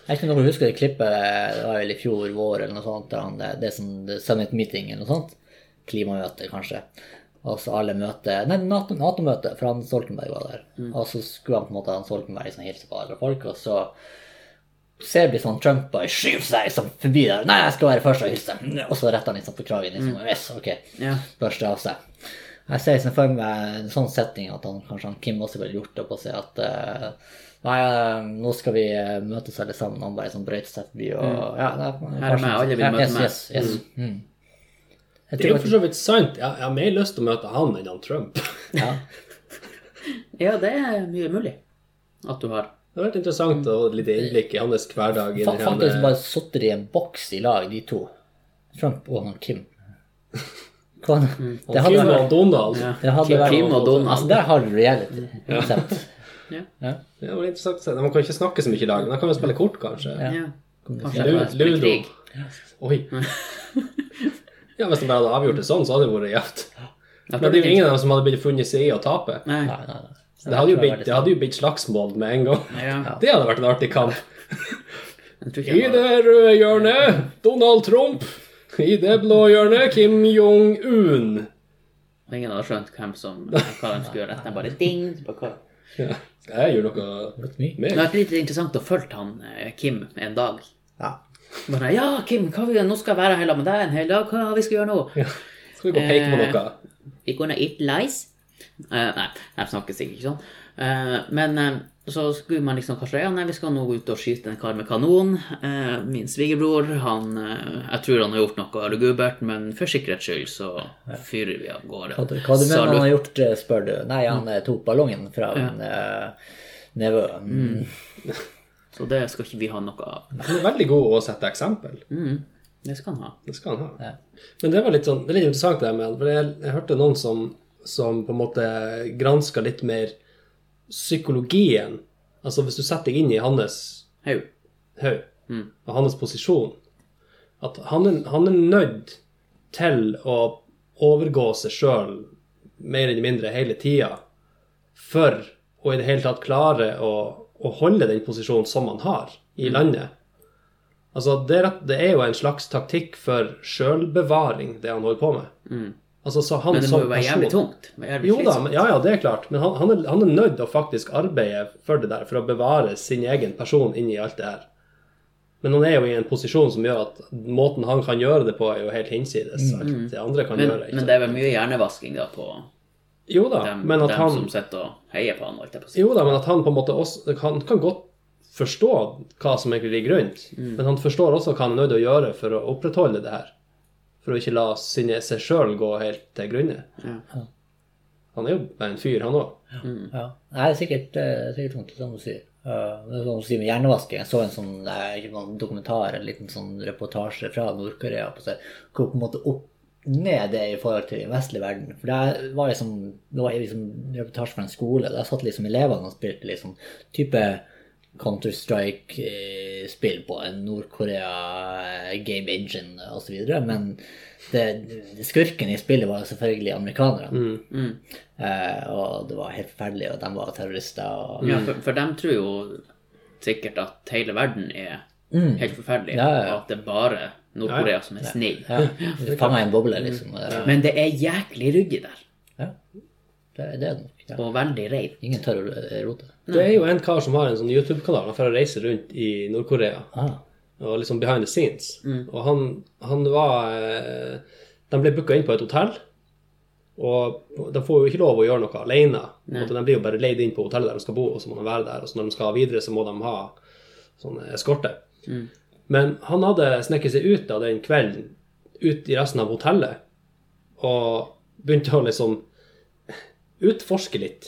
Jeg vet ikke om dere husker det klippet det var vel i fjor vår eller noe sånt, der han, det er sånn the summit meeting eller noe sånt. Klimamøte, kanskje. Og så alle møter Nei, NATO- Nato-møte, for han Stoltenberg var der. Og så skulle han på en måte han Stoltenberg liksom hilse på alle folk, og så ser vi sånn Trump bare skyver seg liksom forbi der. 'Nei, jeg skal være først og hilse.' Og så retter han liksom på kragen. liksom, yes, ok Ja. børste av seg. Jeg ser liksom for meg en sånn setting at han, kanskje han Kim også ville gjort det på å si at eh, Nei, eh, nå skal vi eh, møtes alle sammen. Han bare sånn brøyt seg forbi og ja, nei, Her er meg, alle vil ja, møte yes, meg. Yes, yes. Mm. Det er Jeg tror jo for så vidt sant. Jeg, jeg har mer lyst til å møte han enn han Trump. at- ja. ja, det er mye mulig at du har. Det har vært interessant å ha et lite innblikk i hans hverdag. i Fa- den Faktisk her- bare sittet i en boks i lag, de to. Trump og han Kim. Hva- Det Kim hadde og vært Donald. Ja. det hadde vært- Kim og Altså, Donald. der har du reality. konsept. Ja. Ja. Det var interessant å se. De kan ikke snakke så mye i dag, men de kan jo spille kort, kanskje. ja. Lu- Kanskje jeg kan spille Ludo. krig. Oi. Ja, Hvis de bare hadde avgjort det sånn, så hadde det vært jevnt. Jeg Men tror det er jo ingen av dem som hadde blitt funnet seg i å tape. Nei. Nei, nei, nei. Det hadde jo blitt, det hadde jo blitt slagsmål med en gang. Ja. Det hadde vært en artig kamp. Jeg tror ikke I jeg det røde hjørnet Donald Trump. I det blå hjørnet Kim Jong-un. Og ingen hadde skjønt hvem som, hva de skulle gjøre. Det er bare ding. så bare hva- Ja. Skal jeg gjøre noe Litt mye. Det mer? hadde vært litt interessant å følge han eh, Kim en dag. Ja. Bare, ja, Kim, hva vi, nå skal jeg være her sammen med deg en hel dag. Hva vi skal gjøre nå? Skal vi gå og peke på noe? We gonna eat lice? Eh, nei, jeg snakker sikkert ikke sånn. Eh, men eh, så skulle man liksom kanskje Ja, nei, vi skal nå ut og skyte en kar med kanon. Eh, min svigerbror, han eh, Jeg tror han har gjort noe lugubert, men for sikkerhets skyld så fyrer vi av gårde. Hva, hva du mener Salut. han har gjort, eh, spør du. Nei, han eh, tok ballongen fra en eh, nevø. Mm. Så det skal ikke vi ha noe av. Han er veldig god å sette eksempel. Mm, det skal han ha. Det skal han ha. Men det var litt sånn, det er litt interessant det her med han, for jeg, jeg hørte noen som, som på en måte granska litt mer psykologien. Altså hvis du setter deg inn i hans Hei. haug Mm. og hans posisjon, at han er, han er nødt til å overgå seg sjøl mer eller mindre hele tida for å i det hele tatt klare å, å holde den posisjonen som han har i Mm. landet. Altså, det er, rett- det er jo en slags taktikk for sjølbevaring, det han holder på med. Altså, så han Mm. Men det må som jo være person- jævlig tungt. Det må være Jævlig jo da, slitsomt. men, ja, ja, det er klart. Men han, han, er, han er nødt til å faktisk arbeide for det der, for å bevare sin egen person inni alt det her. Men han er jo i en posisjon som gjør at måten han kan gjøre det på, er jo helt hinsides alt det andre kan Mm. Men, gjøre. ikke men sant? det er vel mye hjernevasking da på jo da, dem, men at dem han som sitter og heier på han, holdt jeg på å si. Jo da, men at han på en måte også Han kan godt forstå hva som egentlig ligger rundt, Mm. men han forstår også hva han er nødt til å gjøre for å opprettholde det her. For å ikke la sine, seg sjøl gå helt til grunne. Ja. Han er jo bare en fyr, han òg. Ja. Nei, det er sikkert, eh, sikkert vondt, som du sier. Eh, det er sånn du sier med hjernevasking. Jeg så en sånn eh, ikke noen dokumentar, en liten sånn reportasje fra Nord-Korea. på seg, Hvor på en måte opp ned det i forhold til den vestlige verden. For der var liksom, det var liksom en reportasje fra en skole. Der satt liksom elevene og spilte liksom type Counter-Strike-spill på en Nord-Korea eh, game engine osv. Men det, skurken i spillet var jo selvfølgelig amerikanerne. Mm. Eh, og det var helt forferdelig, og de var terrorister. Og... Mm. Ja, for, for dem tror jo sikkert at hele verden er Mm. helt forferdelig, Ja, ja, ja. og at det er bare Ja, Nord-Korea ja. som er snill. Ja, det fanga en boble, liksom. Ja. Men det er jæklig ryddig der, Det, det er det nok. Ja. og veldig rein. Ingen tør å ro- eh, rote. Det er jo en kar som har en sånn YouTube-kanal. Han får reise rundt i Nord-Korea. Ah. og liksom behind the scenes. Og han, han var eh, De ble booka inn på et hotell, og de får jo ikke lov å gjøre noe alene. På en måte, De blir jo bare leid inn på hotellet der de skal bo, og så må de være der. Og så når de skal videre, så må de ha sånn eskorte. Men han hadde snekket seg ut av den kvelden, ut i resten av hotellet, og begynte å liksom utforske litt.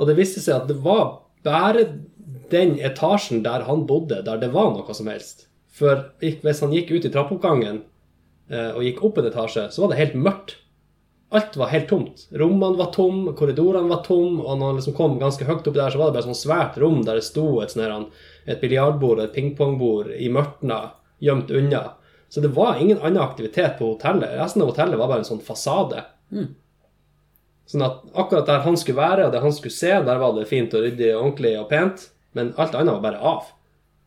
Og det viste seg at det var bare den etasjen der han bodde, der det var noe som helst. For ikk- hvis han gikk ut i trappeoppgangen eh, og gikk opp en etasje, så var det helt mørkt. Alt var helt tomt. Rommene var tom, korridorene var tom, og når han liksom kom ganske høyt oppi der, så var det bare sånn svært rom der det sto et sånn her, et biljardbord og et pingpongbord i mørtna, gjemt unna. Så det var ingen annen aktivitet på hotellet. Resten av hotellet var bare en sånn fasade. Sånn at akkurat der han skulle være, og der han skulle se, der var det fint og ryddig og ordentlig og pent. Men alt annet var bare av.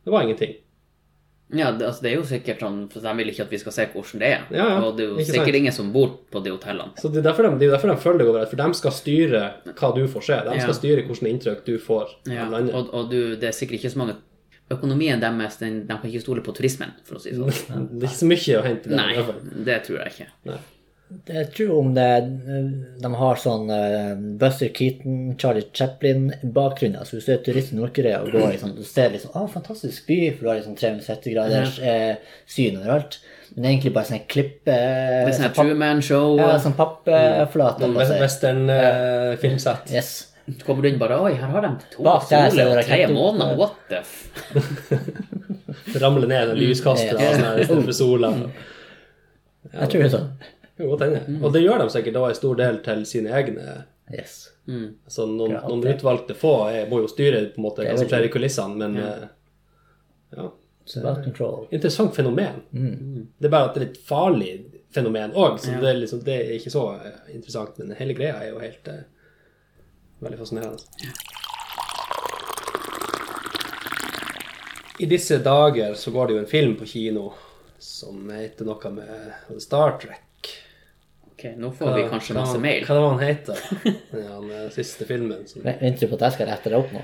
Det var ingenting. Ja, det, altså, det er jo sikkert sånn, for de vil ikke at vi skal se hvordan det er. Ja, ja, Og det er jo ikke sikkert sant. ingen som bor på de hotellene. Så det er derfor de, det er derfor de følger deg over her, for de skal styre hva du får se. De Ja. skal styre hvilke inntrykk du får Ja, av landet. og, og du, det er sikkert ikke så mange Økonomien deres, den, de kan ikke stole på turismen, for å si det sånn. Det er ikke så mye å hente der. i Nei, hvert fall. det tror jeg ikke. Jeg tror om det De har sånn eh, Buster Keaton, Charlie Chaplin-bakgrunn. Altså, du ser turist i Nord-Korea og går liksom, du ser liksom ah, fantastisk by, for du har liksom 360 graders eh, syn overalt. Men det er egentlig bare sånn klippe... Det er sånn her Truman Show Ja, sånn pappflate. Wes- Western eh, filmsett. Yes. Kommer du inn bare Oi, her har de to Bak der ser soler og det tre rett ut. måneder. What the f... Ramler ned en lyskaster Ja. og sånn her i stedet for sola. Jeg tror det er sånn. Det kan godt hende. Og det gjør de sikkert da i stor del til sine egne. Yes. Så noen, Ja, noen det- utvalgte få er, må jo styre på en måte er hva som veldig- skjer i kulissene, men eh, ja. Self control. Interessant fenomen. Mm. Det er bare at det er litt farlig fenomen òg, så det, er liksom, det er ikke så eh, interessant. Men hele greia er jo helt eh, veldig fascinerende. I disse dager så går det jo en film på kino som heter noe med Star Trek. Ok, nå får vi kanskje masse mail. Hva det var han heter? Den eh, siste filmen. Som... Vent- Venter du på at jeg skal rette deg opp nå?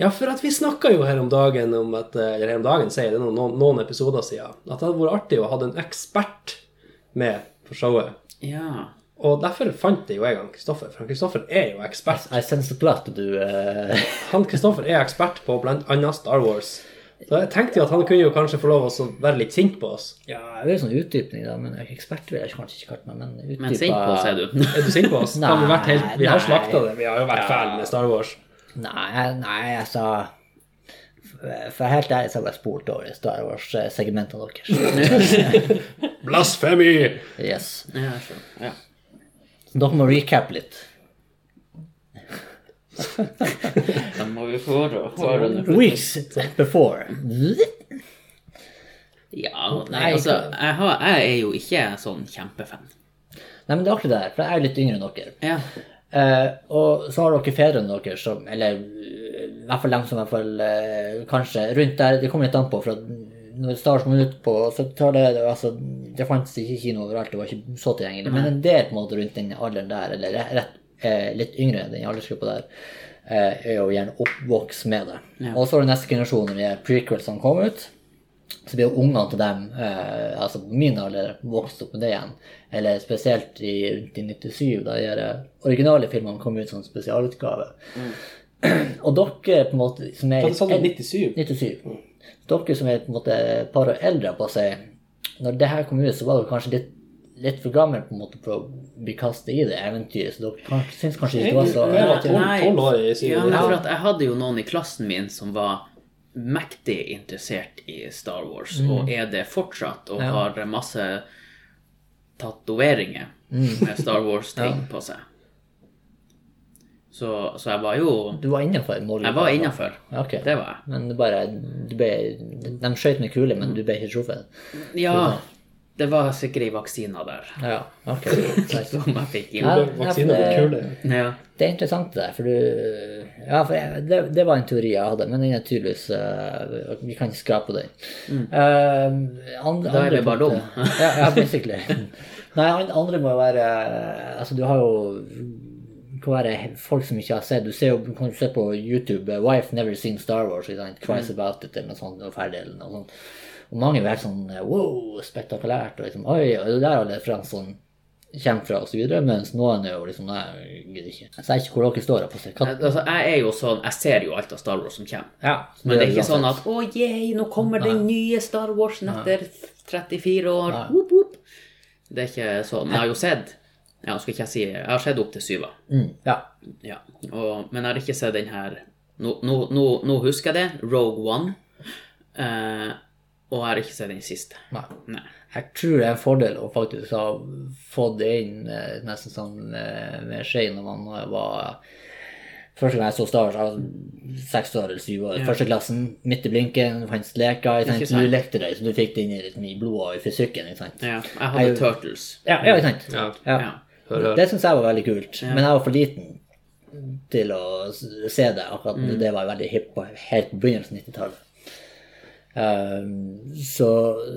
Ja, for at vi snakka jo her om dagen om at, eh, Eller her om dagen, sier jeg, det er noen, noen episoder siden. At det hadde vært artig å ha en ekspert med på showet. Ja. Og derfor fant jeg jo jeg han Kristoffer, for han Kristoffer er jo ekspert. Jeg senser på at du eh, Han Kristoffer er ekspert på blant annet Star Wars. Så jeg tenkte jo at han kunne jo kanskje få lov å være litt sint på oss. Ja, jeg vil jo sånn utdypning, da. Men jeg er ekspert vil jeg kanskje ikke kalle meg, men utdypa Men sint på, sier du. Er du sint på oss? Har vi, vært helt, vi har Nei, slakta det. Vi har jo vært fæle med Star Wars. Nei, nei, altså For helt ærlig så har jeg spolt over i Star Wars-segmentene deres. Blasfemi! Yes. Ja, jeg skjønner. ja. Så dere må recap litt. Da må vi få høre høre det. Weeks before. Ja, nei, altså, jeg, har, jeg er jo ikke sånn kjempefan. Nei, men det er akkurat det her, for jeg er litt yngre enn dere. Ja. Eh, og så har dere fedrene deres som Eller eh, i hvert fall dem som i hvert fall eh, kanskje rundt der. Det kommer litt an på. For at når Stars kom ut på 70-tallet det var altså, Det fantes ikke kino overalt. Det var ikke så tilgjengelig. Men en del på en måte rundt den alderen der, eller re- rett, eh, litt yngre, den aldersgruppa der, eh, er jo gjerne oppvokst med det. Og så er det neste generasjon, de her prequels som kom ut. så blir jo ungene til dem, eh, altså på min alder, vokst opp med det igjen. Eller spesielt i, rundt i 97, da de her originale filmene kom ut som spesialutgave. Og dere på en måte som er Hva sa du, 97? 97. Dere som er på en måte et par år eldre, på å si Når det her kom ut, så var dere kanskje litt, litt for gammel på en måte for å bli kastet i det eventyret, så dere kan- syns kanskje ikke det var så Jeg var tolv- Nei. tolv år i Ja, men for syvende. at jeg hadde jo noen i klassen min som var mektig interessert i Star Wars, og er det fortsatt, og Mm. Ja. har masse tatoveringer Mm. med Star Wars-ting på seg. Så, så jeg var jo Du var innafor målet? Jeg var innafor. Ja, ok. Det var jeg. Men det bare du ble, De skjøt med kuler, men du ble ikke truffet? Ja, det var sikkert ei vaksine der Ja, ok. Nice. som jeg fikk inn. Ja. Vaksine mot kuler. Ja. Det er interessant det der, for du Ja, for jeg, det, det var en teori jeg hadde, men den er tydeligvis eh, Vi kan ikke skrape den. Eh, andre, Mm. Da er vi andre bare punktet- dum. ja, ja, basically. Nei, an- andre må jo være eh, Altså, du har jo kan være folk som ikke har sett Du ser jo, kan du se på YouTube eh, 'Wife never seen Star Wars', ikke sant? 'Cries Mm. about it', eller noe sånt, og ferdig, eller noe sånt. Og mange er helt sånn eh, 'wow, spektakulært', og liksom 'oi, og det der alle referansene kommer fra', og så videre, mens noen er jo liksom 'nei, jeg gidder ikke'. Så jeg ser ikke hvor dere står. på seg. Hva- Altså, jeg er jo sånn Jeg ser jo alt av Star Wars som kommer. Ja, Men det er ikke uansett. sånn at 'Å, yeah, nå kommer den nye Star Warsen etter 34 år'. Nei. Whoop, whoop. Det er ikke sånn. Men jeg har jo sett ja, skal ikke Jeg si, jeg har sett opp til syva. mm, Ja. Ja. Og, men jeg har ikke sett den her Nå, nå, nå, nå husker jeg det. Rogue One. Eh, og jeg har ikke sett den siste. Nei. Nei. Jeg tror det er en fordel å faktisk ha fått det inn eh, nesten sammen med, med Skei når man eh, var Første gang jeg så Star Wars, jeg var seks år eller syv år, Ja. første klassen, midt i blinken, fantes leker, ikke sant? Ikke sant. du lekte deg, så du fikk det inn i, liksom, i blodet og i fysikken, ikke sant? Ja, jeg hadde Jeg- Turtles. Ja, ja ikke sant? Ja. Ja. Ja. Hør, hør. Det syns jeg var veldig kult, men jeg var for liten til å s- se det. akkurat Det var veldig hipp på helt på begynnelsen av 90-tallet. Um, så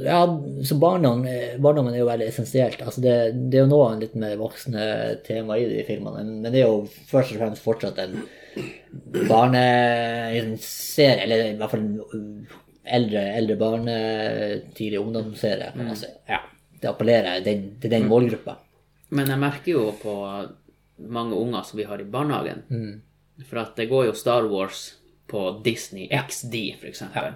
ja, så barndom, eh, barndommen er jo veldig essensielt. Altså det, det er jo nå en litt mer voksne tema i de filmene, men det er jo først og fremst fortsatt en barneserie, eller i hvert fall en eldre, eldre barne, tidlig ungdomsserie, kan man si. Ja, det appellerer den, til den målgruppa. Men jeg merker jo på mange unger som vi har i barnehagen, Mm. for at det går jo Star Wars på Disney XD, for eksempel.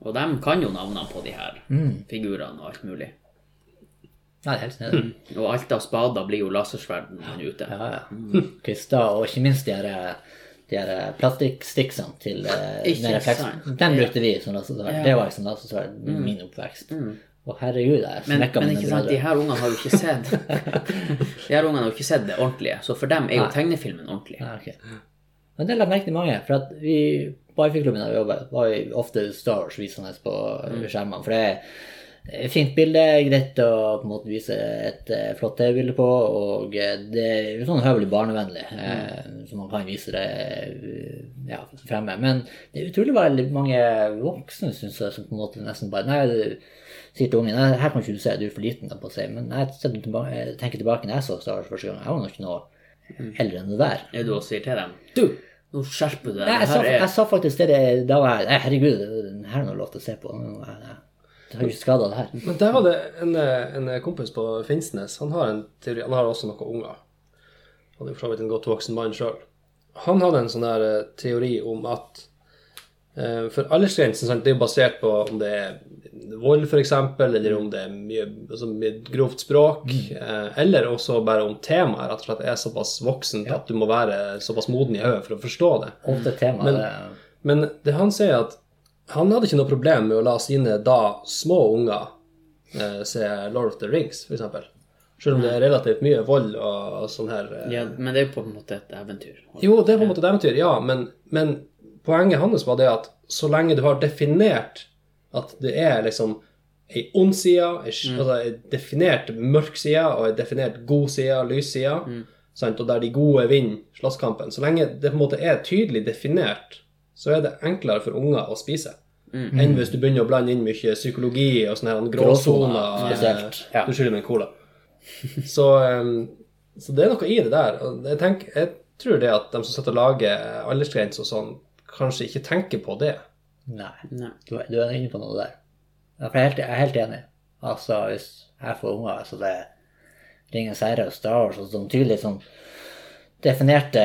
Og de kan jo navnene på de her figurene og alt mulig. Mm. Ja, det er helt nede. Og alt av spader blir jo lasersverden ute. Ja, ja. Kvister, og ikke minst de her, eh, de her eh, plastikkstiksene til eh, Ikke den refleks- sant. Hm. Den brukte vi som lasersverd. Det var liksom lasersverd i min oppvekst. Og herregud, jeg Men, smekka men mine ikke sant, de brødre. her ungene har jo ikke sett De her ungene har jo ikke sett det ordentlige, så for dem er jo tegnefilmen ordentlig. Ja, Ah, ok. Men det la jeg merke til mange, for at vi på IFI-klubben der vi jobbet, var vi ofte Star Wars visende på eh, skjermene. For det er et fint bilde, greit å på en måte vise et eh, flott TV-bilde på, og eh, det er jo sånn høvelig barnevennlig, eh, så man kan vise det eh, ja, fremme. Men det er utrolig veldig mange voksne, syns jeg, som på en måte nesten bare Nei, det, sier til ungen nei, her kan ikke du se, du er for liten, da, på å si. Men jeg setter tilba- jeg tenker tilbake når jeg så Star Wars første gang, jeg var nok ikke noe eldre enn det der. Er det du også sier til dem Du, nå skjerper du deg. Nei, jeg, det sa, her er- jeg sa faktisk det det- da var jeg Nei, herregud, det- den her er noe lov til å se på. Nå er jeg- Det har jo skada det her. Men der var det en, eh, en kompis på Finnsnes. Han har en teori, han har også noen unger. Han er jo for så vidt en godt voksen mann sjøl. Han hadde en sånn her eh, teori om at eh, For aldersgrensen sant, det er jo basert på om det er vold, f.eks., eller om det er mye, altså, mye grovt språk, eh, eller også bare om temaet rett og slett er såpass voksent at du må være såpass moden i hodet for å forstå det. Ofte tema. Men- det- Men det han sier at han hadde ikke noe problem med å la sine da små unger eh, se Lord of the Rings, for eksempel. Selv om det er relativt mye vold og sånn her. eh. ja, men det er jo på en måte et eventyr. Jo, det er på en måte et eventyr, ja, men, men poenget hans var det at så lenge du har definert at det er liksom ei ond side, ei, sk- altså ei definert mørk side og ei definert god side, lys side, sant? og der de gode vinner slåsskampen Så lenge det på en måte er tydelig definert, så er det enklere for unger å spise. Mm. Enn hvis du begynner å blande inn mye psykologi og sånne her Gråsoner, gråsoner. spesielt, ja. eh, Du skylder meg en cola. Så, em, så det er noe i det der. og Jeg, tenker, jeg tror det at de som sitter og lager eh, aldersgrenser og sånn, kanskje ikke tenker på det. Nei. Nei. Du, du er inne på noe der. Ja, for Jeg er helt, jeg er helt enig. Altså, hvis jeg får unger, altså det Ringenes herre og Star Wars og sånn tydelig sånn definerte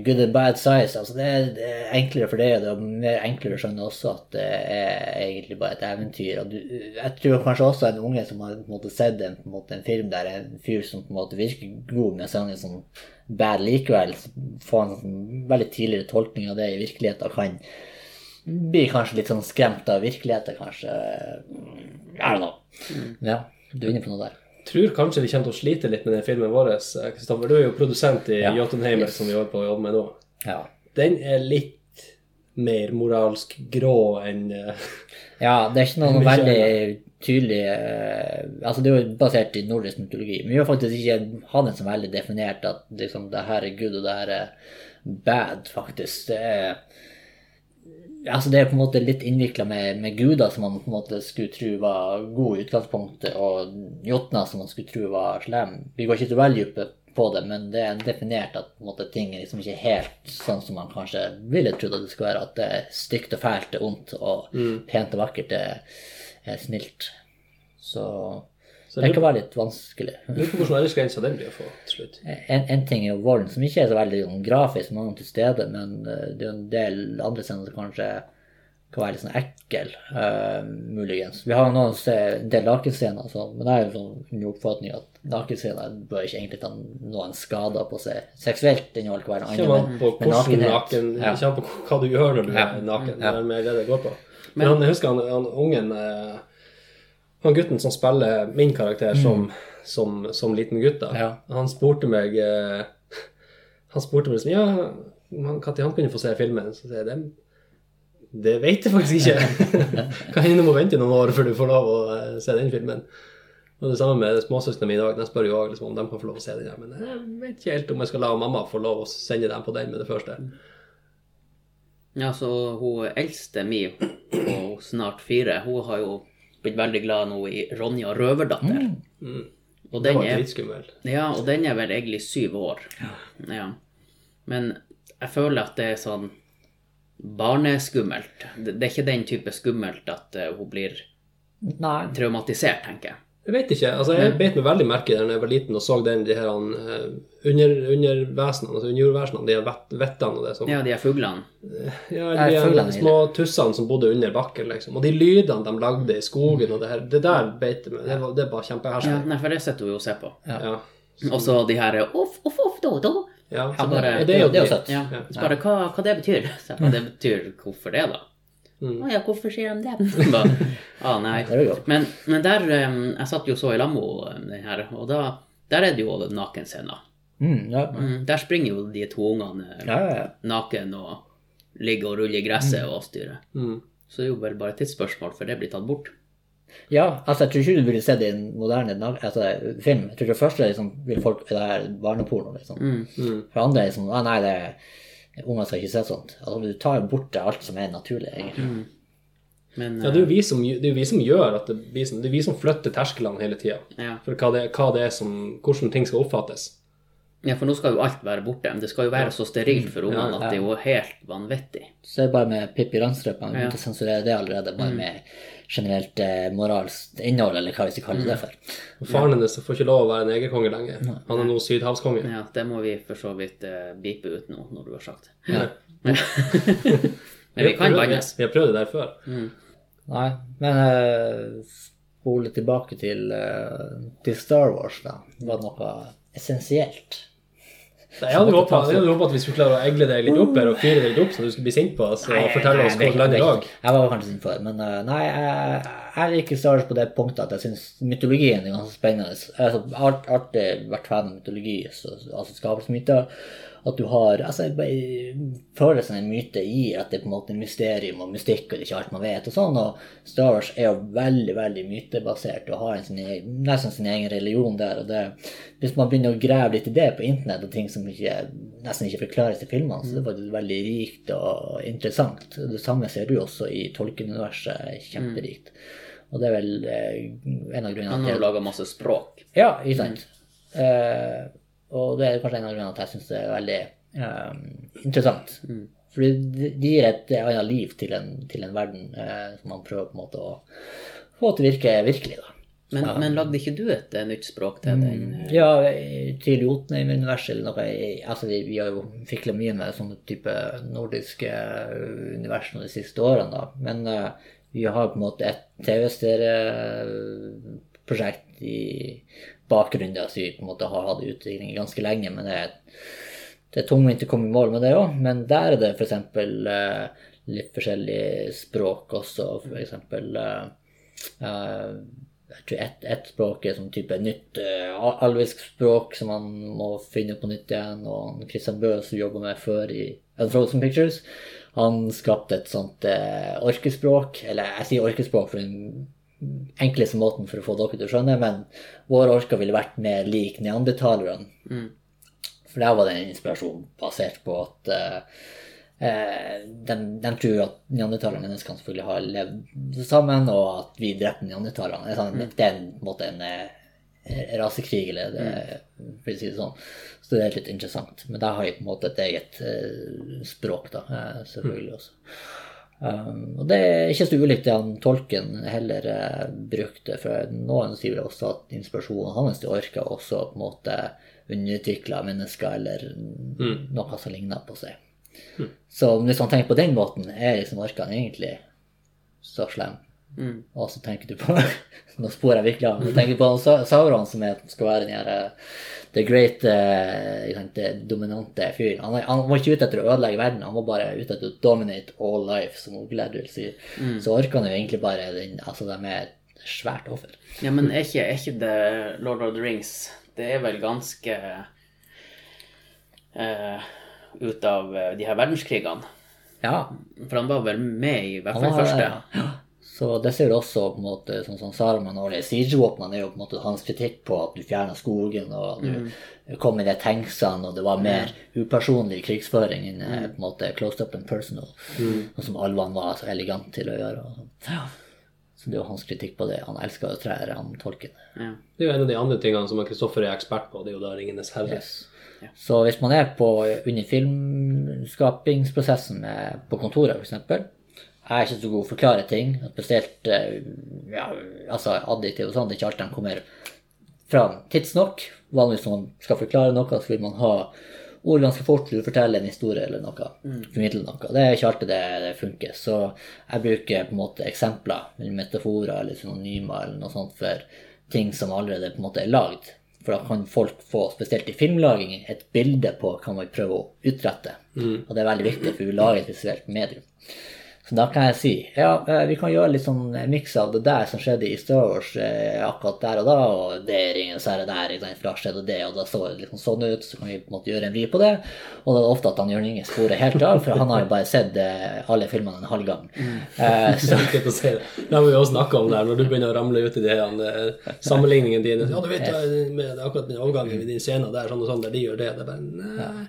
good and bad size, altså det er, det er enklere for deg, og det er mer enklere å skjønne også at det er egentlig bare et eventyr. Og du, jeg tror kanskje også en unge som har på en måte sett en, på en, måte, en film der en fyr som på en måte virker god, men så er han litt sånn bad likevel, så får han en sånn veldig tidligere tolkning av det i virkeligheten og kan blir kanskje litt sånn skremt av virkeligheten, kanskje. Mm, I don't know. Ja, du er inne på noe der. Tror kanskje vi kommer til å slite litt med den filmen vår. eh, Kristoffer, du er jo produsent i Ja. Jotunheimer, som vi holder på å jobbe med nå. Ja, Den er litt mer moralsk grå enn eh, ja det er ikke noe Mye veldig tydelig eh, Altså, det er jo basert i nordisk mytologi, men vi har faktisk ikke hatt det så veldig definert at liksom det her er good, og det her er bad, faktisk. Det er Altså, det er på en måte litt innvikla med, med guder som man på en måte skulle tro var gode i utgangspunktet, og jotner som man skulle tro var slem. Vi går ikke så veldig dypt på det, men det er definert at på en måte, ting er liksom ikke helt sånn som man kanskje ville trodd at det skulle være. At det er stygt og fælt det er ondt, og Mm. pent og vakkert det er snilt. Så, Så det lurer kan være litt vanskelig. lurer på hvordan aldersgrensa den blir å få til slutt. En, en ting er jo volden, som ikke er så veldig sånn, grafisk mange til stede, men eh, det er jo en del andre scener som kanskje kan være litt sånn ekkel, eh, muligens. Vi har jo noen se, en del nakenscener, og sånn, men det er jo sånn min oppfatning at nakenscener bør ikke egentlig ta noen skader på seg seksuelt. innhold kan være Kommer noe an annet, på men, men hvordan nakenhet. naken Ja. Kommer an på hva du gjør når du Ja. er naken. Ja. Det er mer det det går på. Men, Men- han, jeg husker han, han ungen eh, Han gutten som spiller min karakter som, som, som liten gutt, da. Mm. Ja. Han spurte meg eh, Han spurte meg liksom Ja, han- når han kunne få se filmen? Så sier jeg det det vet jeg faktisk ikke. Kan hende du må vente noen år før du får lov å eh, se den filmen. Og det samme med småsøstrene mine i dag. De spør jo også liksom, om de kan få lov å se den. her, Men jeg vet ikke helt om jeg skal la mamma få lov å sende dem på den med det første. Ja, så hun eldste mi, og snart fire, hun har jo blitt veldig glad nå i Ronja Røverdatter. Mm. Og Det den var er, dritskummel. ja, og den er vel egentlig syv år. Ja. Men jeg føler at det er sånn barneskummelt. Det, det er ikke den type skummelt at eh, hun blir Nei. traumatisert, tenker jeg. Jeg vet ikke. altså Jeg bet meg veldig merke i den da jeg var liten og så den, de her eh, under, undervesenene, altså underjordvesenene, de her vett- vettene og det som Ja, de her fuglene. Ja, Jeg de føler den her i det. små tussene som bodde under bakken, liksom. Og de lydene de lagde i skogen og det her, det der beit jeg meg. Det var, det var Ja, kjempeherskende. nei, for det sitter hun jo og ser på. Ja. Og så de her off, off, off, do, do. Ja, så Ja, det- bare- og Det er jo, det er jo dritt. søtt. Ja, så bare hva, hva det betyr. Så jeg, bare, det betyr hvorfor det, da. Mm. Å ja, hvorfor sier de det? Bare, ah, nei. Det er jo godt. Men, men der um, Jeg satt jo så i lag med henne, um, den her, og da, der er det jo nakenscener. Mm, ja. Mm, der springer jo de to ungene eh, Ja, ja, ja. naken og ligger og ruller i gresset og styrer. Mm. Så det er jo vel bare et tidsspørsmål før det blir tatt bort. Ja, altså jeg tror ikke du ville sett det i en moderne nag- altså, film. Jeg tror det første er liksom, vil folk det her barneporno, liksom. Mm. Mm. For andre er liksom, ah, nei, det er- unger skal ikke se sånt. Altså, du tar jo bort det alt som er naturlig, egentlig. Mm. Men eh, Ja, det er jo vi som, det er jo vi som gjør at det blir sånn. Det er vi som flytter tersklene hele tida. eh, ja. For hva det, hva det er som, hvordan ting skal oppfattes. ja, for nå skal jo alt være borte. Men det skal jo være så sterilt for ungene at det er jo helt vanvittig. Så det er bare med Pippi Landstrømpe, Ja. man Mm. begynte å sensurere det allerede, bare med generelt eh, moralsk innhold, eller hva vi skal kalle Mm. det for. Og Faren hennes får ikke lov å være negerkonge lenger. Han er nå sydhavskonge. Ja, det må vi for så vidt eh, bipe ut nå, når du har sagt det. Ja. Men vi kan har prøvd- bannes. Vi har prøvd det der før. Nei, men eh, spole tilbake til, eh, til Star Wars, da. Var det noe essensielt? Nei, Jeg hadde håpa at vi skulle klare å egle deg litt opp her og fyre deg litt opp, så du skulle bli sint på oss og fortelle oss Nei, hvor landet jeg vet lag. ikke. Jeg var kanskje sin for, men eh, nei, jeg, jeg liker Star Wars på det punktet at jeg syns mytologien er ganske spennende. Altså, jeg har alt- alltid vært fan av mytologi, så, altså skapelsesmyter. At du har altså, jeg bare- Følelsen en myte gir, at det er på en måte mysterium og mystikk, og det er ikke alt man vet, og sånn. Og Star Wars er jo veldig, veldig mytebasert og har en sin egen, nesten sin egen religion der. og det, Hvis man begynner å grave litt i det på internett, og ting som ikke, nesten ikke forklares i filmene, så det er faktisk veldig rikt og interessant. Det samme ser du jo også i tolkenuniverset. Kjemperikt. Og det er vel eh, en av grunnene Han til har jo laga masse språk. ja, ikke sant. Eh, og det er kanskje en av grunnene til at jeg syns det er veldig eh, interessant. Fordi det det gir et annet liv til en, til en verden eh, som man prøver på en måte å Få at det virker virkelig, da. Men, men lagde ikke du et eh, nytt språk til den? eh, Ja, til Jotunheim-universet eller noe. jeg- Altså, vi, vi har jo fikla mye med sånne type nordiske eh, univers nå de siste årene, da. Men eh, vi har på en måte et TV-serieprosjekt i bakgrunnen der, så vi på en måte har hatt utvikling ganske lenge. Men det er, det er tungvint å komme i mål med det òg. Men der er det f.eks. Uh, litt forskjellige språk også, f.eks. eh, Jeg tror ett et språk er sånn type nytt eh, al- alvisk språk som man må finne på nytt igjen. Og han Christian Bøe, som jobba med før i Unfrozen Pictures, han skapte et sånt eh, orkespråk. Eller jeg sier orkespråk for den enkleste måten for å få dere til å skjønne, men våre orker ville vært mer lik neandertalerne. Mm. For der var det en inspirasjon basert på at eh, eh, de, de tror at neandertalerne og menneskene selvfølgelig har levd sammen, og at vi drepte neandertalerne. Det er sånn- Det er en, på en måte en eh, rasekrig, eller det, for å si det sånn. Så det er litt interessant. Men der har jeg på en måte et eget eh, språk, da, eh, selvfølgelig også. Um, og det er ikke så ulikt det han tolken heller eh, brukte, for noen sier vel også at inspirasjonen hans til orka også på en måte underutvikla mennesker eller noe som ligner på seg. Så hvis man tenker på den måten, er liksom orkaen egentlig så slem? Mm. Og så tenker du på Nå sporer jeg virkelig av. men tenker du på han Sa- Sauron, som er, skal være den her eh, The Great eh, ikke sant, det dominante fyren. Han, er- han var ikke ute etter å ødelegge verden, han var bare ute etter å dominate all life, som Ogled vil si. Så orkene er jo egentlig bare den Altså, de er et svært offer. Ja, men er ikke, er ikke det Lord of the Rings Det er vel ganske eh, ut av eh, de her verdenskrigene. Ja. For han var vel med i hvert Han fall var, første. ja. Så det ser du også på en måte sånn som Saruman og de siegevåpnene er jo på en måte hans kritikk på at du fjerna skogen og du kom i de tanksene og det var mer upersonlig krigsføring enn eh, på en måte closed up and personal, og som alvene var så elegant til å gjøre. Og sånn. Så det er jo hans kritikk på det. Han elsker jo trær, han tolken. Ja. Det er jo en av de andre tingene som Kristoffer er ekspert på, det er jo da 'Ringenes herre'. Så hvis man er på, under filmskapingsprosessen med, på kontoret, f.eks. Jeg er ikke så god til å forklare ting, spesielt eh, ja, altså adjektiv og sånn. Det er ikke alt de kommer fram tidsnok. Vanligvis når man skal forklare noe, så vil man ha ord ganske fort til å fortelle en historie eller noe. Formidle noe. Det er ikke alltid det, det funker. Så jeg bruker på en måte eksempler, eller metaforer eller synonymer eller noe sånt for ting som allerede på en måte er lagd. For da kan folk få, spesielt i filmlaging, et bilde på hva man prøver å utrette. Og det er veldig viktig, for vi lager et visuelt medium. Så da kan jeg si ja, eh, vi kan gjøre litt sånn miks av det der som skjedde i Star Wars eh, akkurat der og da, og det er ingen sære der, ikke sant, for da skjedde det, og da så det liksom sånn ut, så kan vi på en måte gjøre en vri på det. Og da er det ofte at han Jørn Inge sporer helt av, for han har jo bare sett eh, alle filmene en halv gang. Eh, Så jeg liker ikke å si det. Det har vi jo snakka om der, når du begynner å ramle ut i de her eh, sammenligningene dine. Ja, du vet eh, med akkurat den overgangen i de scenene der, sånn og sånn, der de gjør det. Det er bare Nei.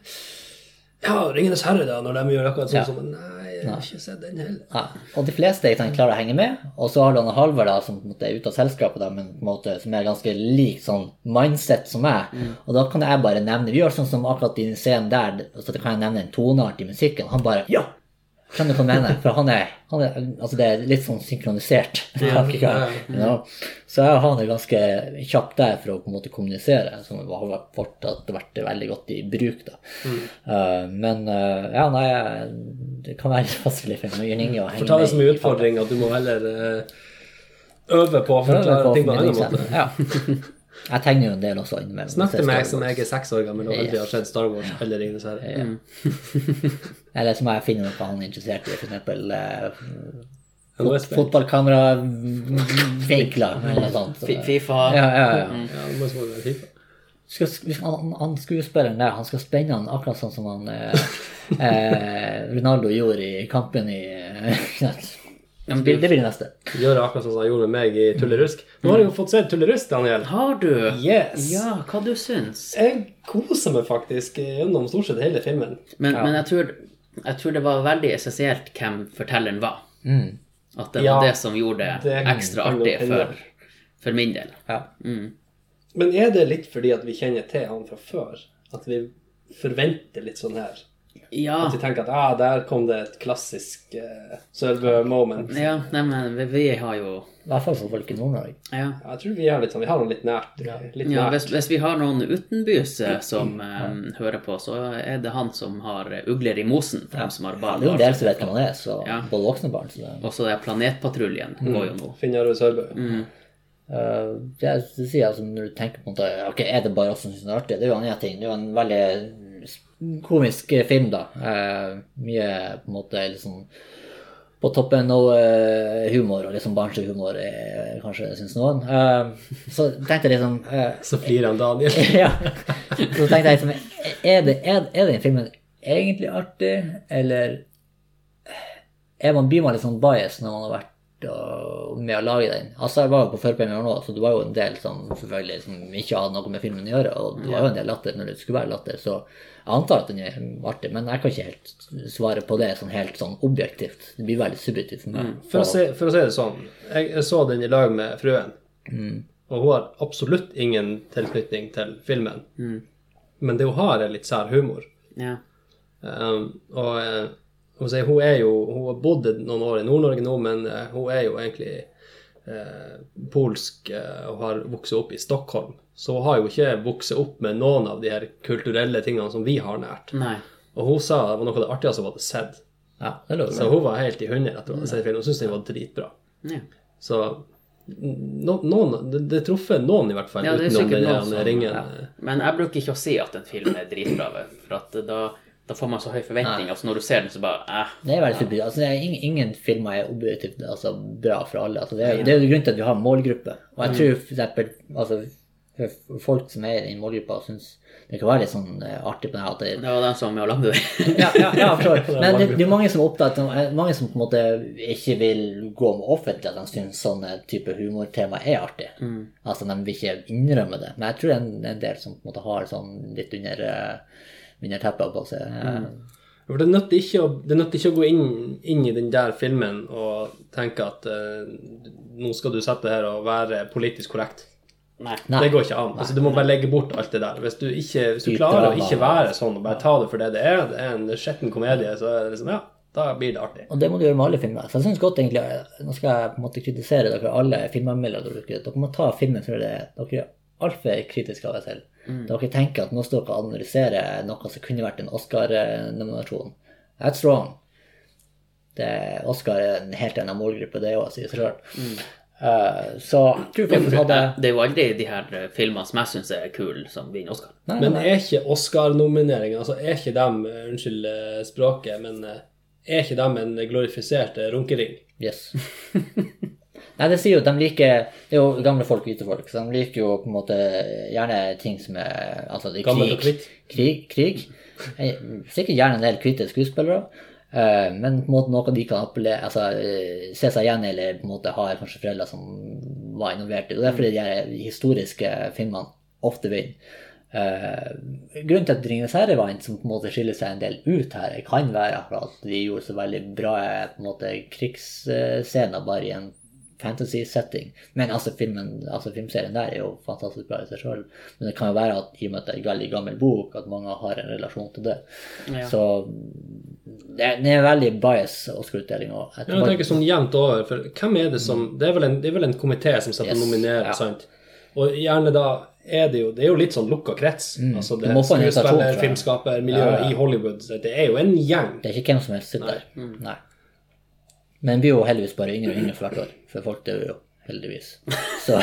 Ja, 'Ringenes herre', da, når de gjør akkurat sånn Ja. som Nei, jeg har ikke sett den heller. Ja, og de fleste ikke sant, klarer å henge med. Og så har du han Halvard, da, som på en måte er ute av selskapet, da, men på en måte som er ganske lik sånn mindset som meg. Og da kan jeg bare nevne Vi gjør sånn som akkurat i den scenen der, så da kan jeg nevne en toneart i musikken. Han bare Ja! Skjønner du hva jeg mener? For han er, han er Altså, det er litt sånn synkronisert. tankegang, you know. Så jeg og han er ganske kjapp der for å på en måte kommunisere, som har vært- fortsatt vært veldig godt i bruk, da. Mm. Eh, men eh, ja, nei, jeg- det kan være litt vanskelig for meg Jørn Inge å henge Får ta det som en i- utfordring at du må heller eh, øve på å forklare ting på en annen måte. Ja. liksom. Jeg tegner jo en del også innimellom. Snakk til meg Star som Wars. jeg er seks år gammel og aldri har sett Star Wars eller 'Ringenes herre'. Eller så må jeg finne noe han er interessert i, for eksempel eh, Ja, nå er jeg spent. fotballkamera-vinkler eller noe sånt. Fi- Fifa Ja, ja, ja. Ja, nå må jeg spørre deg, FIFA. skal, hvis han, han skuespilleren der, han skal spenne han akkurat sånn som han eh, eh, Ronaldo gjorde i kampen i eh, Ja, men Det du- blir det blir neste. Gjør akkurat sånn som han gjorde med meg i Tullerusk. Nå har jeg jo fått sett Tullerusk, Daniel. Har du? Yes! Ja, hva du syns? Jeg koser meg faktisk gjennom stort sett hele filmen. Men, men jeg, tror, jeg tror det var veldig essensielt hvem fortelleren var. Mm. At det Ja, var det som gjorde det det ekstra kan artig Mm. godt hende. for, for min del. Ja. Men er det litt fordi at vi kjenner til han fra før? At vi forventer litt sånn her Ja. At de tenker at ah, der kom det et klassisk uh, Sørbø-moment. ja nei, men vi, vi har jo I hvert fall for folk i Nord-Norge. Ja. Ja, Jeg tror vi har litt sånn, vi har noe litt nært. Ja. Litt Ja, nært. hvis, hvis vi har noen utenbys eh, som eh, hører på, så er det han som har eh, ugler i mosen, for dem som har Det barn. er jo en del som vet hvem han er, så Ja. både voksne barn. Så det, Og så er Planetpatruljen går jo nå. Finner og Sørbø. Mm. Eh, det er- det sier jeg altså, når du tenker på en måte, ok, er det bare oss som synes det er artig? Det er jo en annen ting. Det er jo en veldig s- komisk film, da. Eh, mye på en måte liksom på toppen av eh, humor, og liksom barnslig humor, eh, kanskje, synes noen. Eh, så tenkte jeg liksom eh, Så flirer han Daniel. ja. Så tenkte jeg liksom, er, det, er, er den filmen egentlig artig, eller er man, blir man litt sånn bias når man har vært og, med å lage den? Altså, jeg var jo på førpremiere nå, så det var jo en del som selvfølgelig som ikke hadde noe med filmen å gjøre, og det var jo en del latter når det skulle være latter, så jeg antar at den er artig, men jeg kan ikke helt svare på det sånn helt sånn objektivt. Det blir veldig subjektivt for meg. Mm. For å, si, for å si det sånn, jeg, jeg så den i lag med fruen, og hun har absolutt ingen tilknytning til filmen. Men det hun har, er litt sær humor. Ja. Um, og eh, hun, sier, hun er jo Hun har bodd noen år i Nord-Norge nå, men eh, hun er jo egentlig eh, polsk eh, og har vokst opp i Stockholm. Så hun har jo ikke vokst opp med noen av de her kulturelle tingene som vi har nært. Nei. Og hun sa det var noe av det artigste hun hadde sett. Ja, det er lov. Så hun var helt i hundre etter å ha sett filmen. Hun syntes den var dritbra. Ja. Så no, noen Det det truffet noen, i hvert fall, Ja, det er utenom sikkert den noen her som- ringen. ja. Men jeg bruker ikke å si at en film er dritbra, vet du, for at da, da får man så høy forventning. Altså når du ser den, så bare eh. Det er veldig subjektivt. Altså, det er ingen, ingen filmer er objektivt altså, bra for alle. Altså, det, er, det er jo grunnen til at vi har en målgruppe. Og jeg tror for eksempel, altså, for folk som er i den målgruppa, syns det kan være litt sånn eh, artig på det her at det Det var den som med å lande det. ja, ja, ja, for så vidt. Men det, det er mange som er opptatt av eh, Mange som på en måte ikke vil gå med offentlig at de syns sånne type humortema er artig. Altså, de vil ikke innrømme det. Men jeg tror det er en, en del som på en måte har sånn litt under, eh, under teppet på seg. eh, For det nytter ikke å, det nytter ikke å gå inn, inn i den der filmen og tenke at eh, nå skal du sette her og være politisk korrekt. Nei. Nei. Det går ikke an. Altså, du må bare legge bort alt det der. Hvis du, ikke, hvis du Dypt klarer å drama. ikke være sånn og bare ta det for det det er, det er en skitten komedie, så er det liksom, ja, da blir det artig. Og det må du gjøre med alle filmer. Så jeg synes godt egentlig, Nå skal jeg på en måte kritisere dere alle filmanmeldere. Dere, dere må ta filmen for det. er. Dere er altfor kritiske av dere selv. Dere tenker at nå står dere og analyserer noe som kunne vært en Oscar-nominasjon. That's wrong. Det, Oscar er en helt annen målgruppe, det òg, sier seg sjøl. så jeg tror faktisk Det hadde er jo aldri de her eh, filmene som jeg syns er kule, som vinner Oscar. Nei, Men nei, er ikke Oscar-nomineringen, altså er ikke dem, eh, unnskyld eh, språket, men eh, er ikke dem en glorifisert eh, runkering? Yes. Nei, det sier jo at de liker Det er jo gamle folk og hvite folk, så de liker jo på en måte gjerne ting som er Altså det er Gammelt og krig. kvitt. Krig. krig. Eh, Sikkert gjerne en del hvite skuespillere, eh, men på en måte noe de kan appellere Altså eh, se seg igjen i, eller på en måte har kanskje foreldre som var involvert i. Og det er fordi de her historiske filmene ofte vinner. Eh, grunnen til at 'Ringenes herre' vant, som på en måte skiller seg en del ut her, kan være for at de gjorde så veldig bra eh, på en måte krigsscener bare i en fantasy-setting. Men altså, filmen, altså filmserien der er jo fantastisk bra i seg sjøl. Men det kan jo være at i og med at det er en veldig gammel bok, at mange har en relasjon til det. Ja. Så det er, det er veldig bias Oscar-utdeling. og jeg Ja, tror jeg bare- tenker sånn jevnt over, for hvem er det som Det er vel en, det er vel en komité som setter Yes, og nominerer, ja. sant? Og gjerne da er det jo Det er jo litt sånn lukka krets. Altså det Mm. Du må få en invitasjon, tror skuespiller, jeg. filmskaper, miljøet i Hollywood. så Det er jo en gjeng. Det er ikke hvem som helst sitter der. Nei. Men den blir jo heldigvis bare yngre og yngre for hvert år. For folk dør jo, heldigvis. Så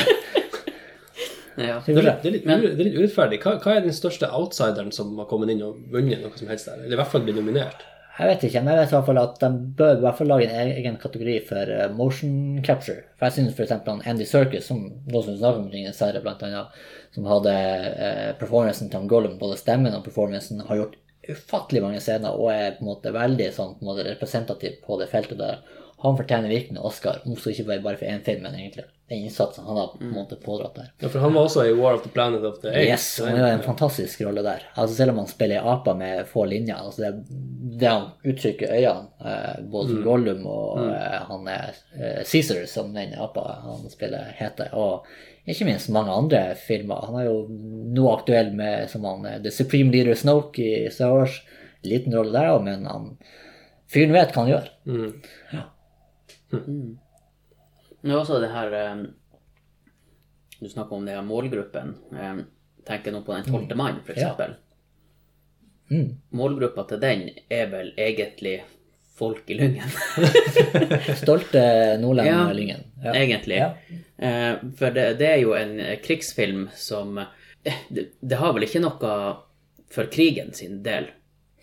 Ja. Det er litt, det er litt, u- det er litt urettferdig. Hva, hva er den største outsideren som har kommet inn og vunnet noe som helst der? Eller i hvert fall blitt nominert? Jeg vet ikke, men jeg vet i hvert fall at de bør i hvert fall lage en egen kategori for eh, motion capture. For jeg synes for eksempel han Andy Serkis, som nå som vi snakker om Ringenes Herre blant annet, som hadde eh, performancen til han Gollum, både stemmen og performancen, har gjort ufattelig mange scener og er på en måte veldig sånn, på en måte representativ på det feltet der. Han fortjener virkelig en Oscar, om så ikke bare for én film, men egentlig den innsatsen han har på en måte pådratt der. Ja, for han var også i War of the Planet of the Apes. Yes, han gjør en fantastisk rolle der. Altså Selv om han spiller i apa med få linjer, altså det, det han uttrykker i øynene, eh, både som Gollum og eh, han er eh, Caesar, som den apa han spiller, heter, og ikke minst mange andre filmer. Han er jo nå aktuell med som han, eh, The Supreme Leader Snoke i Star Wars. liten rolle der òg, men han, fyren vet hva han gjør. Mm. Men også det her eh, Du snakker om det her målgruppen. Eh, tenker nå på den tolvte mann, for Ja. eksempel. Mm. Målgruppa til den er vel egentlig folk i Lyngen, Stolte nordlendinger Ja. i Lyngen. Ja. egentlig. Ja. Eh, for det, det er jo en eh, krigsfilm som eh, det, det har vel ikke noe for krigen sin del,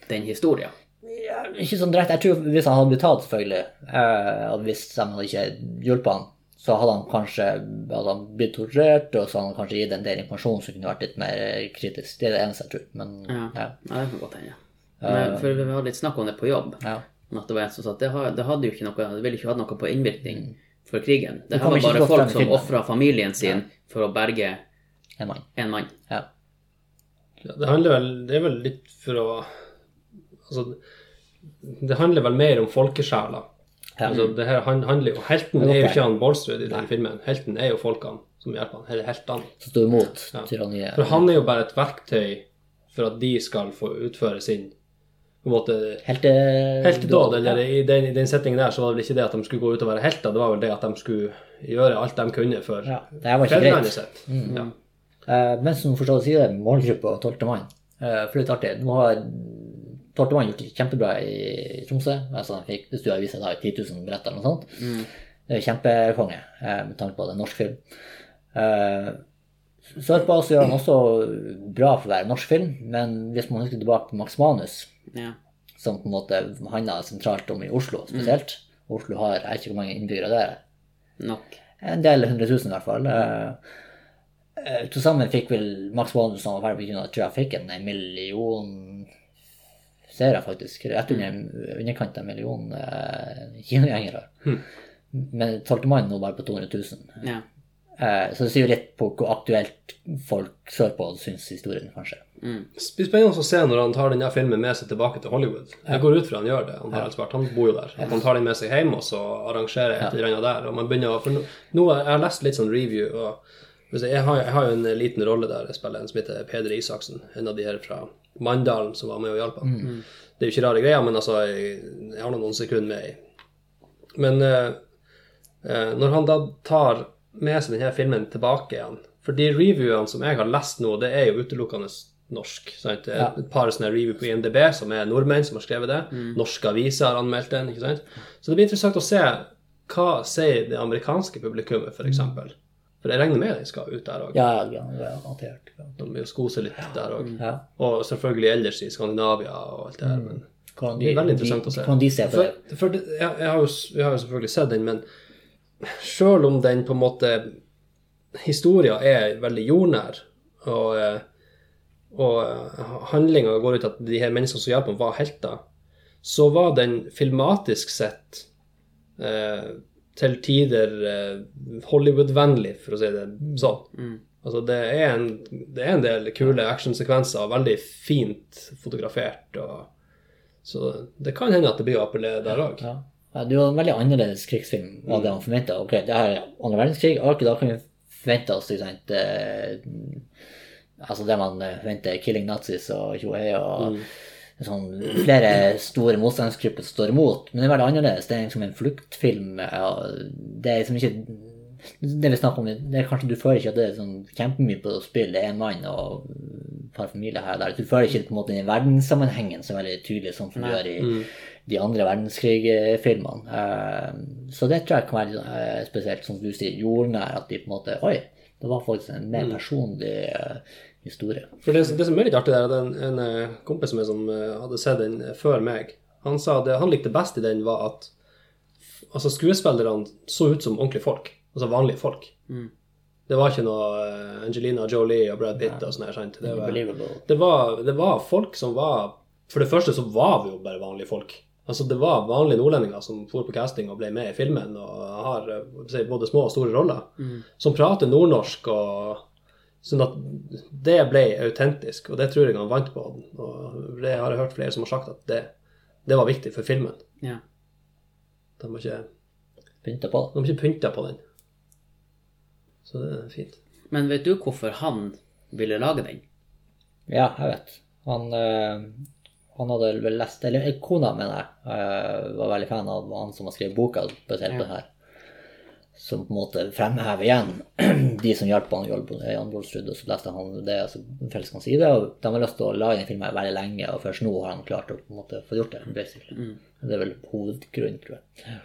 den historien. Ja, ikke sånn direkte. Jeg tror hvis han hadde blitt tatt, selvfølgelig, eh, og hvis de hadde ikke hjulpet han, så hadde han kanskje hadde han blitt torturert, og så hadde han kanskje gitt en del informasjon som kunne vært litt mer eh, kritisk. Det er det eneste jeg tror. Men Ja. ja. Ja, det kan godt hende. Eh. Men, for vi hadde litt snakk om det på jobb. ja. Men At det var en som sa at det, har, det hadde jo ikke noe, det ville ikke hatt noe på innvirkning for krigen. Det Det her kommer var bare ikke godt frem folk i som filmen. ofra familien sin for å berge En mann. en mann. Ja. Ja, Det handler vel Det er vel litt for å Altså, det handler vel mer om folkesjela. Ja. Altså, det her han- handler jo Helten Det er er jo godt ikke han Bårdstrud i den filmen. Helten er jo folkene som hjelper han. Eller heltene. Som sto imot Ja. tyranniet. For han er jo bare et verktøy for at de skal få utføre sin på en måte Helte... heltedåd. Eller i den, i den settingen der så var det vel ikke det at de skulle gå ut og være helter, det var vel det at de skulle gjøre alt de kunne for Ja. Det her var ikke greit. fedrelandet sitt. Ja. Eh, men som forstått sier det, målgruppa og tolvte mann. Eh, for litt artig. Nå har tolvte mann gjort det kjempebra i Tromsø. Altså, de fikk, hvis du har vist deg 10 000 billetter eller noe sånt. Det er jo kjempekonge, eh, med tanke på at det er en norsk film. Eh, Sørpå så gjør han også bra for å være en norsk film, men hvis man husker tilbake på Max Manus, Ja. som på en måte handler sentralt om i Oslo spesielt Oslo har, jeg vet ikke hvor mange innbyggere det er, Nok. en del hundre tusen i hvert fall. Eh, eh, Til sammen fikk vel Max Bonus som var ferdig på kino, tror jeg fikk en million seere, faktisk. Rett under underkant av en million eh, kinogjengere. Hmm. Men tolvte mann nå bare på 200 000. Ja. Eh, så det sier jo litt på hvor aktuelt folk sørpå syns historien, kanskje. Mm. Det blir spennende å se når han tar denne filmen med seg tilbake til Hollywood. Jeg går ut fra han gjør det. Han har svart, han bor jo der. At han tar den med seg hjem og så arrangerer et eller annet der. Og man begynner å, for nå, nå har jeg har lest litt sånn review, og hvis jeg, jeg, har, jeg har jo en liten rolle der. Jeg spiller en som heter Peder Isaksen, en av de her fra Mandalen som var med og hjalp ham. Det er jo ikke rare greier, men altså, jeg, jeg har nå noen sekunder med i men eh, eh, når han da tar med seg denne filmen tilbake igjen For de reviewene som jeg har lest nå, det er jo utelukkende norsk. Sant? Det er Et par sånne review på IMDb som er nordmenn som har skrevet det. Mm. Norske aviser har anmeldt den. ikke sant? Så det blir interessant å se hva sier det amerikanske publikummet, f.eks. For, eksempel. for jeg regner med de skal ut der òg. Ja, ja, ja, garantert. De vil jo sko seg litt der òg. Ja. Og selvfølgelig ellers i Skandinavia og alt det Mm. her. men... Hvordan Det er veldig interessant å se. Hvordan de ser på det. For, for det, jeg, jeg, har jo, s- jeg har jo selvfølgelig sett den, men selv om den på en måte Historia er veldig jordnær, og, eh, og eh, handlinga går ut at de her menneskene som hjalp ham, var helter, så var den filmatisk sett eh, til tider eh, Hollywood-vennlig, for å si det sånn. Mm. Altså, det er, en, det er en del kule actionsekvenser, veldig fint fotografert. og så det kan hende at det blir å appellere der òg. Ja. Ja, det er jo en veldig annerledes krigsfilm av det han forventa. Ok, det her er andre verdenskrig, ok, da kan vi forvente oss ikke sant, eh, altså det man eh, forventer, killing nazis og tjohei Mm. og sånn, flere store motstandsgrupper som står imot. Men det er veldig annerledes. Det er liksom en fluktfilm. Ja, det er liksom ikke det vi snakker om, det er kanskje du føler ikke at det er sånn kjempemye på spill. Det er en mann og et par familier her og der. Du føler ikke på en måte den verdenssammenhengen så veldig tydelig sånn som du gjør i Mm. de andre verdenskrig-filmene. Eh, Så det tror jeg kan være eh, spesielt, som du sier, jordnær. At de på en måte Oi, det var faktisk en Mm. mer personlig eh, historie. For det, det som er litt artig, der, er at en, en eh, kompis som, er som eh, hadde sett den før meg, han sa det han likte best i den, var at altså, skuespillerne så ut som ordentlige folk. Altså vanlige folk. Mm. Det var ikke noe eh, Angelina Jolie og Brad Pitt og sånn her, sant? Det var, Unbelievable. det, var, det var folk som var For det første så var vi jo bare vanlige folk. Altså Det var vanlige nordlendinger som for på casting og ble med i filmen og har eh, hva skal jeg si, både små og store roller, Mm. som prater nordnorsk og Sånn at det ble autentisk, og det tror jeg han vant på. Og det har jeg hørt flere som har sagt at det, det var viktig for filmen. ja. De har ikke, Pynta på de har ikke pynta på den. Så det er fint. Men vet du hvorfor han ville lage den? Ja, jeg vet. Han, eh, han hadde vel lest Eller eh, kona, mener jeg, eh, var veldig fan av han som har skrevet boka basert på det her. Som på en måte fremhever igjen de som hjalp han Jan Bol- eh, Jan Bolstrud, og så leste han det, og så forelsket han seg i det. Og de har lyst til å lage den filmen veldig lenge, og først nå har han klart å på en måte få gjort det. basically. Det er vel hovedgrunnen, tror jeg.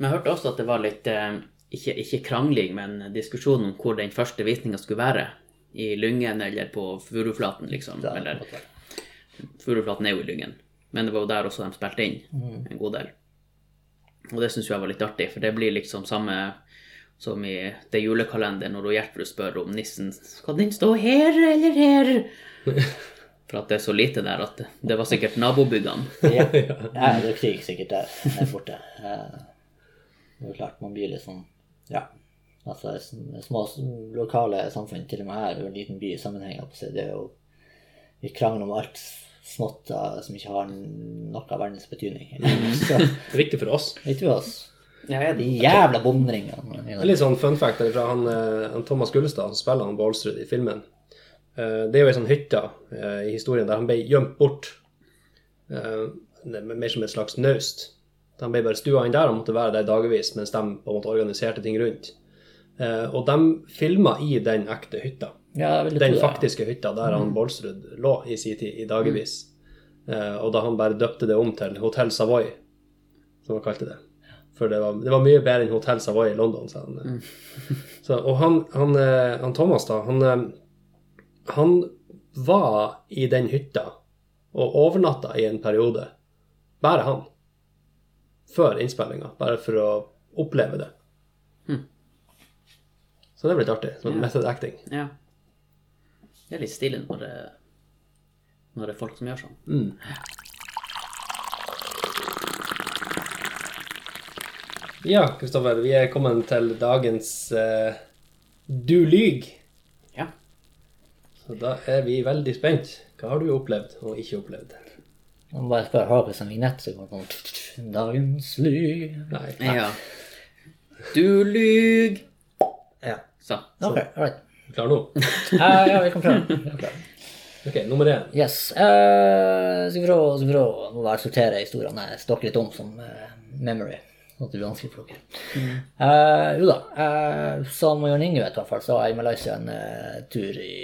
Men jeg hørte også at det var litt eh, ikke, ikke krangling, men diskusjon om hvor den første visninga skulle være. I Lyngen eller på Furuflaten, liksom. Det er Eller, på en måte- Furuflaten er jo i Lyngen, men det var jo der også de spilte inn en god del. Og det syns jeg var litt artig, for det blir liksom samme som i det julekalenderen når hun Gjertrud spør om nissen skal den stå her eller her. For at det er så lite der at det var sikkert nabobyggene. Ja. ja, det er krig sikkert der, der borte. Eh, Det er jo klart man blir litt sånn Ja. Altså s- små s- lokale samfunn, til og med her, og en liten by i sammenheng, holdt på å si, det er jo Vi krangler om alt smått eh, som ikke har noe av verdens betydning. Så Det er viktig for oss. vet du oss. Ja, er De jævla bomringene. Det er litt sånn fun fact fra han, eh, han Thomas Gullestad, som spiller han Baalsrud i filmen. Eh, Det er jo ei sånn hytte eh, i historien der han ble gjemt bort. Eh, Det er mer som et slags naust. Han ble bare stua inn der og måtte være der dagevis mens de på en måte organiserte ting rundt. Eh, Og de filma i den ekte hytta. Ja, jeg vil Den tro det. faktiske hytta der han Baalsrud lå i sin tid, i dagevis. Eh, Og da han bare døpte det om til Hotell Savoy, som han kalte det. For det var, det var mye bedre enn Hotell Savoy i London, sa han. Så, og han, han, eh, han Thomas, da, han, eh, han var i den hytta og overnatta i en periode. Bare han. Før innspillinga. Bare for å oppleve det. Så det er blitt artig. Sånn method acting. Ja. Det er litt stilig når det, når det er folk som gjør sånn. Mm. Ja, Kristoffer, vi er kommet til dagens eh, Du lyg. Ja. Så da er vi veldig spent. Hva har du opplevd og ikke opplevd? Man bare skal ha på seg en vignett, så kommer det sånn Dagens lyg. Nei. ja. Du lyg! Ja. Så. Ok, all right. Klar nå? Eh, ja, vi kan prøve. Vi kan prøve. Ok, nummer én. Yes. eh, skal vi prøve, skal vi prøve å bare sortere historiene jeg stokker litt om som eh, memory. Sånn at det blir vanskelig for dere. Eh, jo da. eh, som Jørn Inge vet, i hvert fall, så var jeg i Malaysia en eh, tur i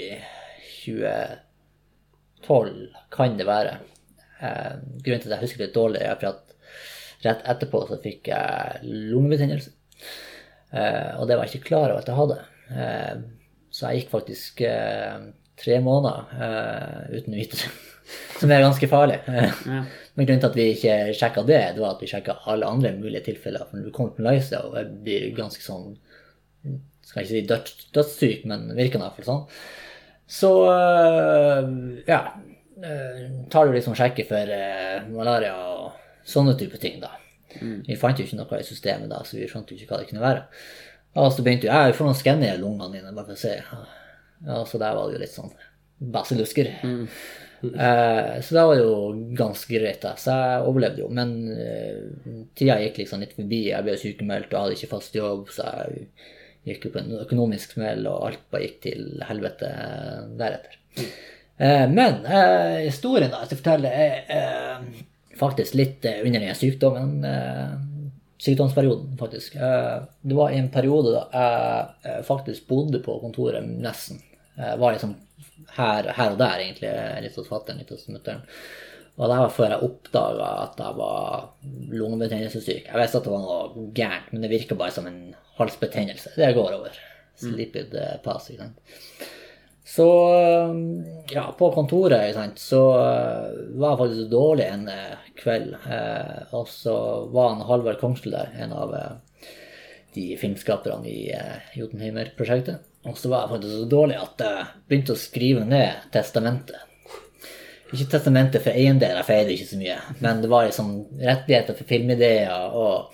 2012, kan det være. Eh, grunnen til at jeg husker det litt dårlig, er for at rett etterpå så fikk jeg lungebetennelse. Eh, og det var jeg ikke klar over at jeg hadde. Eh, så jeg gikk faktisk eh, tre måneder eh, uten å vite det. Som er ganske farlig. Eh, Ja. Men grunnen til at vi ikke sjekka det, det var at vi sjekka alle andre mulige tilfeller. For når du kommer til Malaysia og jeg blir ganske sånn Skal ikke si døds, dødssyk, men virker i hvert fall sånn. Så øh, ja. øh, tar du liksom sjekke for øh, malaria og sånne type ting, da. Vi fant jo ikke noe i systemet da, så vi skjønte jo ikke hva det kunne være. Og så begynte jo jeg å få noen skanner i lungene dine, bare for å se. Ja, så der var det jo litt sånn basillusker. Eh, så det var jo ganske greit, da. Så jeg overlevde jo. Men eh, tida gikk liksom litt forbi. Jeg ble sykemeldt og hadde ikke fast jobb, så jeg gikk jo på en økonomisk smell, og alt bare gikk til helvete deretter. Eh, men eh, historien da, jeg skal fortelle, er eh, faktisk litt eh, under den sykdommen, eh, sykdomsperioden, faktisk. Eh, det var en periode da jeg eh, faktisk bodde på kontoret nesten. Jeg var liksom her, her og der, egentlig, eh, litt hos fatter'n, litt hos mutter'n. Og det var før jeg oppdaga at jeg var lungebetennelsessyk. Jeg visste at det var noe gærent, men det virka bare som en halsbetennelse. Det går over. Slipid eh, pass, ikke sant. Så eh, ja, på kontoret ikke sant, så eh, var jeg faktisk dårlig en eh, kveld. eh, Og så var han Halvard Kongsli der, en av eh, de filmskaperne i eh, Jotunheimer-prosjektet. Og så var jeg faktisk så dårlig at jeg begynte å skrive ned testamentet. Ikke testamentet for eiendel, jeg feide ikke så mye, men det var liksom rettigheter for filmideer og,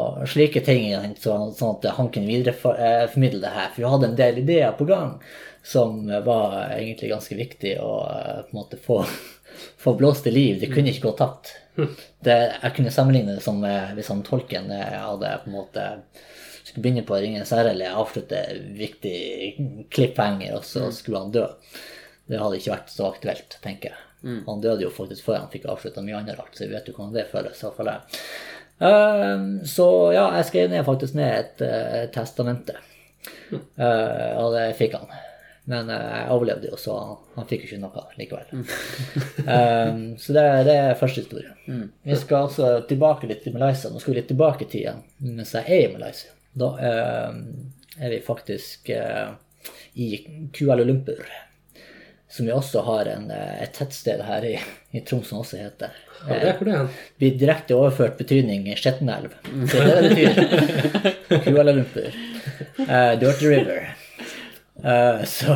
og slike ting, ikke sant, så, sånn at han kunne videreformidle det her. For vi hadde en del ideer på gang som var egentlig ganske viktig å eh, på en måte få, få blåst i liv. Det kunne ikke gå tapt. Det, jeg kunne sammenligne det som eh, hvis han tolken eh, hadde på en måte skulle begynne på å ringe en serre eller avslutte viktig cliffhanger, og så skulle han dø. det hadde ikke vært så aktuelt, tenker jeg. Han døde jo faktisk før han fikk avslutta mye annet rart, så jeg vet jo hvordan det føles. i hvert fall jeg. Ehm, så ja, jeg skrev ned faktisk ned et eh, testamente, Eh, og det fikk han. Men eh, jeg overlevde jo, så han, han fikk jo ikke noe Mm. likevel. Ehm, så det, det er første historie. Mm. Vi skal altså tilbake litt til Malaysia. Nå skal vi litt tilbake i tida mens jeg er i Malaysia. Da eh, er vi faktisk eh, i Kuala Lumpur, som vi også har en, eh, et tettsted her i, i Troms som også heter. Eh, Ja, det er hvor det er hen. Blir direkte overført betydning i Skjettenelv. Det er det det betyr. Kuala Lumpur. Eh, Dirty River. Eh, så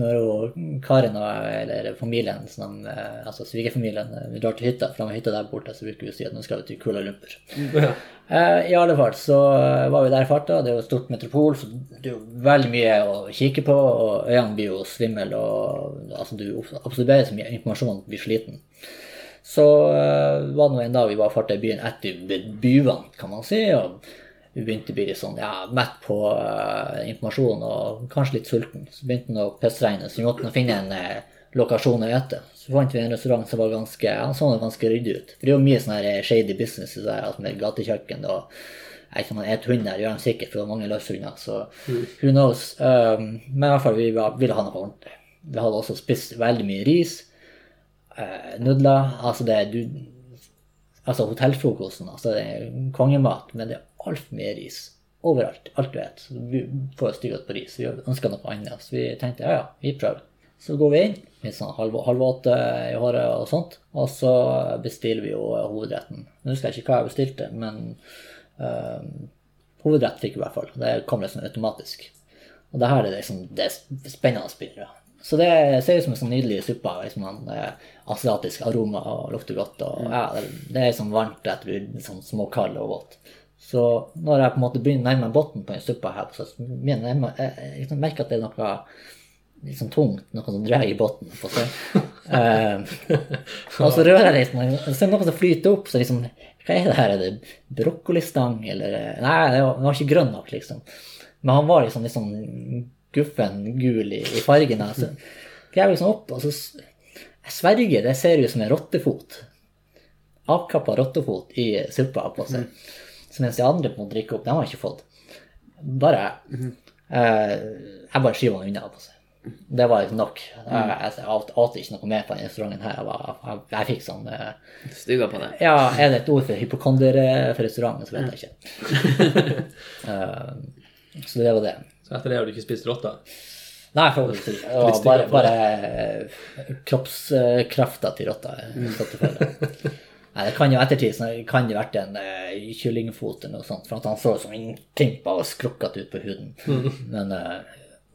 når hun, Karin og eller familien, som, eh, altså svigerfamilien, eh, vi drar til hytta, for de har hytta der borte, så bruker vi å si at nå skal vi til Kuala Lumpur. Ja. Eh, I alle fall så eh, var vi der i farta. Det er jo et stort metropol, så det er jo veldig mye å kikke på. Og øynene blir jo svimle, og altså, du absorberer så mye informasjon at du blir sliten. Så eh, var det nå en dag vi var farta i byen etter byvant, kan man si. og vi begynte å bli litt sånn, ja, mett på eh, informasjon og kanskje litt sulten. Så begynte det å pissregne, så vi måtte nå finne en eh, lokasjon å ete. Så fant vi en restaurant som var ganske, ja, sånn ganske ryddig ut. For det er jo mye sånn her eh, shady business i det der, altså med gatekjøkken og jeg vet ikke om man et hund der, det gjør de sikkert, for det er mange løshunder, så who knows. Um, men i hvert fall, vi var- ville ha noe ordentlig. Vi hadde også spist veldig mye ris, eh, nudler, altså det, du, Altså hotellfrokosten, altså det er kongemat, men det er altfor mye ris. Overalt. Alt du vet. Så Vi får styret på ris. Vi ønsker noe annet. Så vi tenkte ja, ja, vi prøver. Så går vi inn, litt sånn halv, halv åtte i håret og sånt, og så bestiller vi jo eh, hovedretten. Nå husker jeg ikke hva jeg bestilte, men øhm, hovedrett fikk vi i hvert fall. Det kom liksom automatisk. Og det her er liksom det er spennende spillere. Så det ser ut som en sånn nydelig suppe. Liksom en eh, asiatisk aroma og lukter godt. Og, ja, det- det er liksom varmt etter liksom, småkald og våt. Så når jeg på en måte begynner å nærme meg bunnen på den suppa her, så begynner jeg, nærme- jeg, jeg liksom merker at det er noe liksom tungt, noe som drar i bunnen. på seg. Eh, og så rører jeg litt, og så er det liksom. noe som flyter opp. Så liksom, hva er det her? Er det brokkolistang, eller eh, Nei, det var, den var ikke grønn nok, liksom. Men han var liksom litt sånn guffen gul i, i fargen. da. Så greier liksom opp, og så s- Jeg sverger, det ser ut som en rottefot. Avkappa rottefot i suppa på seg. Så mens de andre må drikke opp, den har jeg ikke fått. Bare eh, Jeg bare skyver den unna. på seg. Det var liksom nok. Jeg, jeg, jeg åt ikke noe mer på denne restauranten her. Jeg, var, jeg, jeg fikk sånn eh, Stuga på det. ja, er det et ord for hypokonder eh, for restauranten, så vet jeg ikke. Eh, så det var det. Så etter det har du ikke spist rotta. Nei, forhåpentligvis ikke. Det Litt var bare, styggere på bare eh, kroppskrafta til rotta. Mm. eh, satt i felle. Nei, det kan jo i ettertid så kan det vært en eh, kyllingfot eller noe sånt, for at han så som en kimpa og skrukket ut på huden. Mm. Men eh,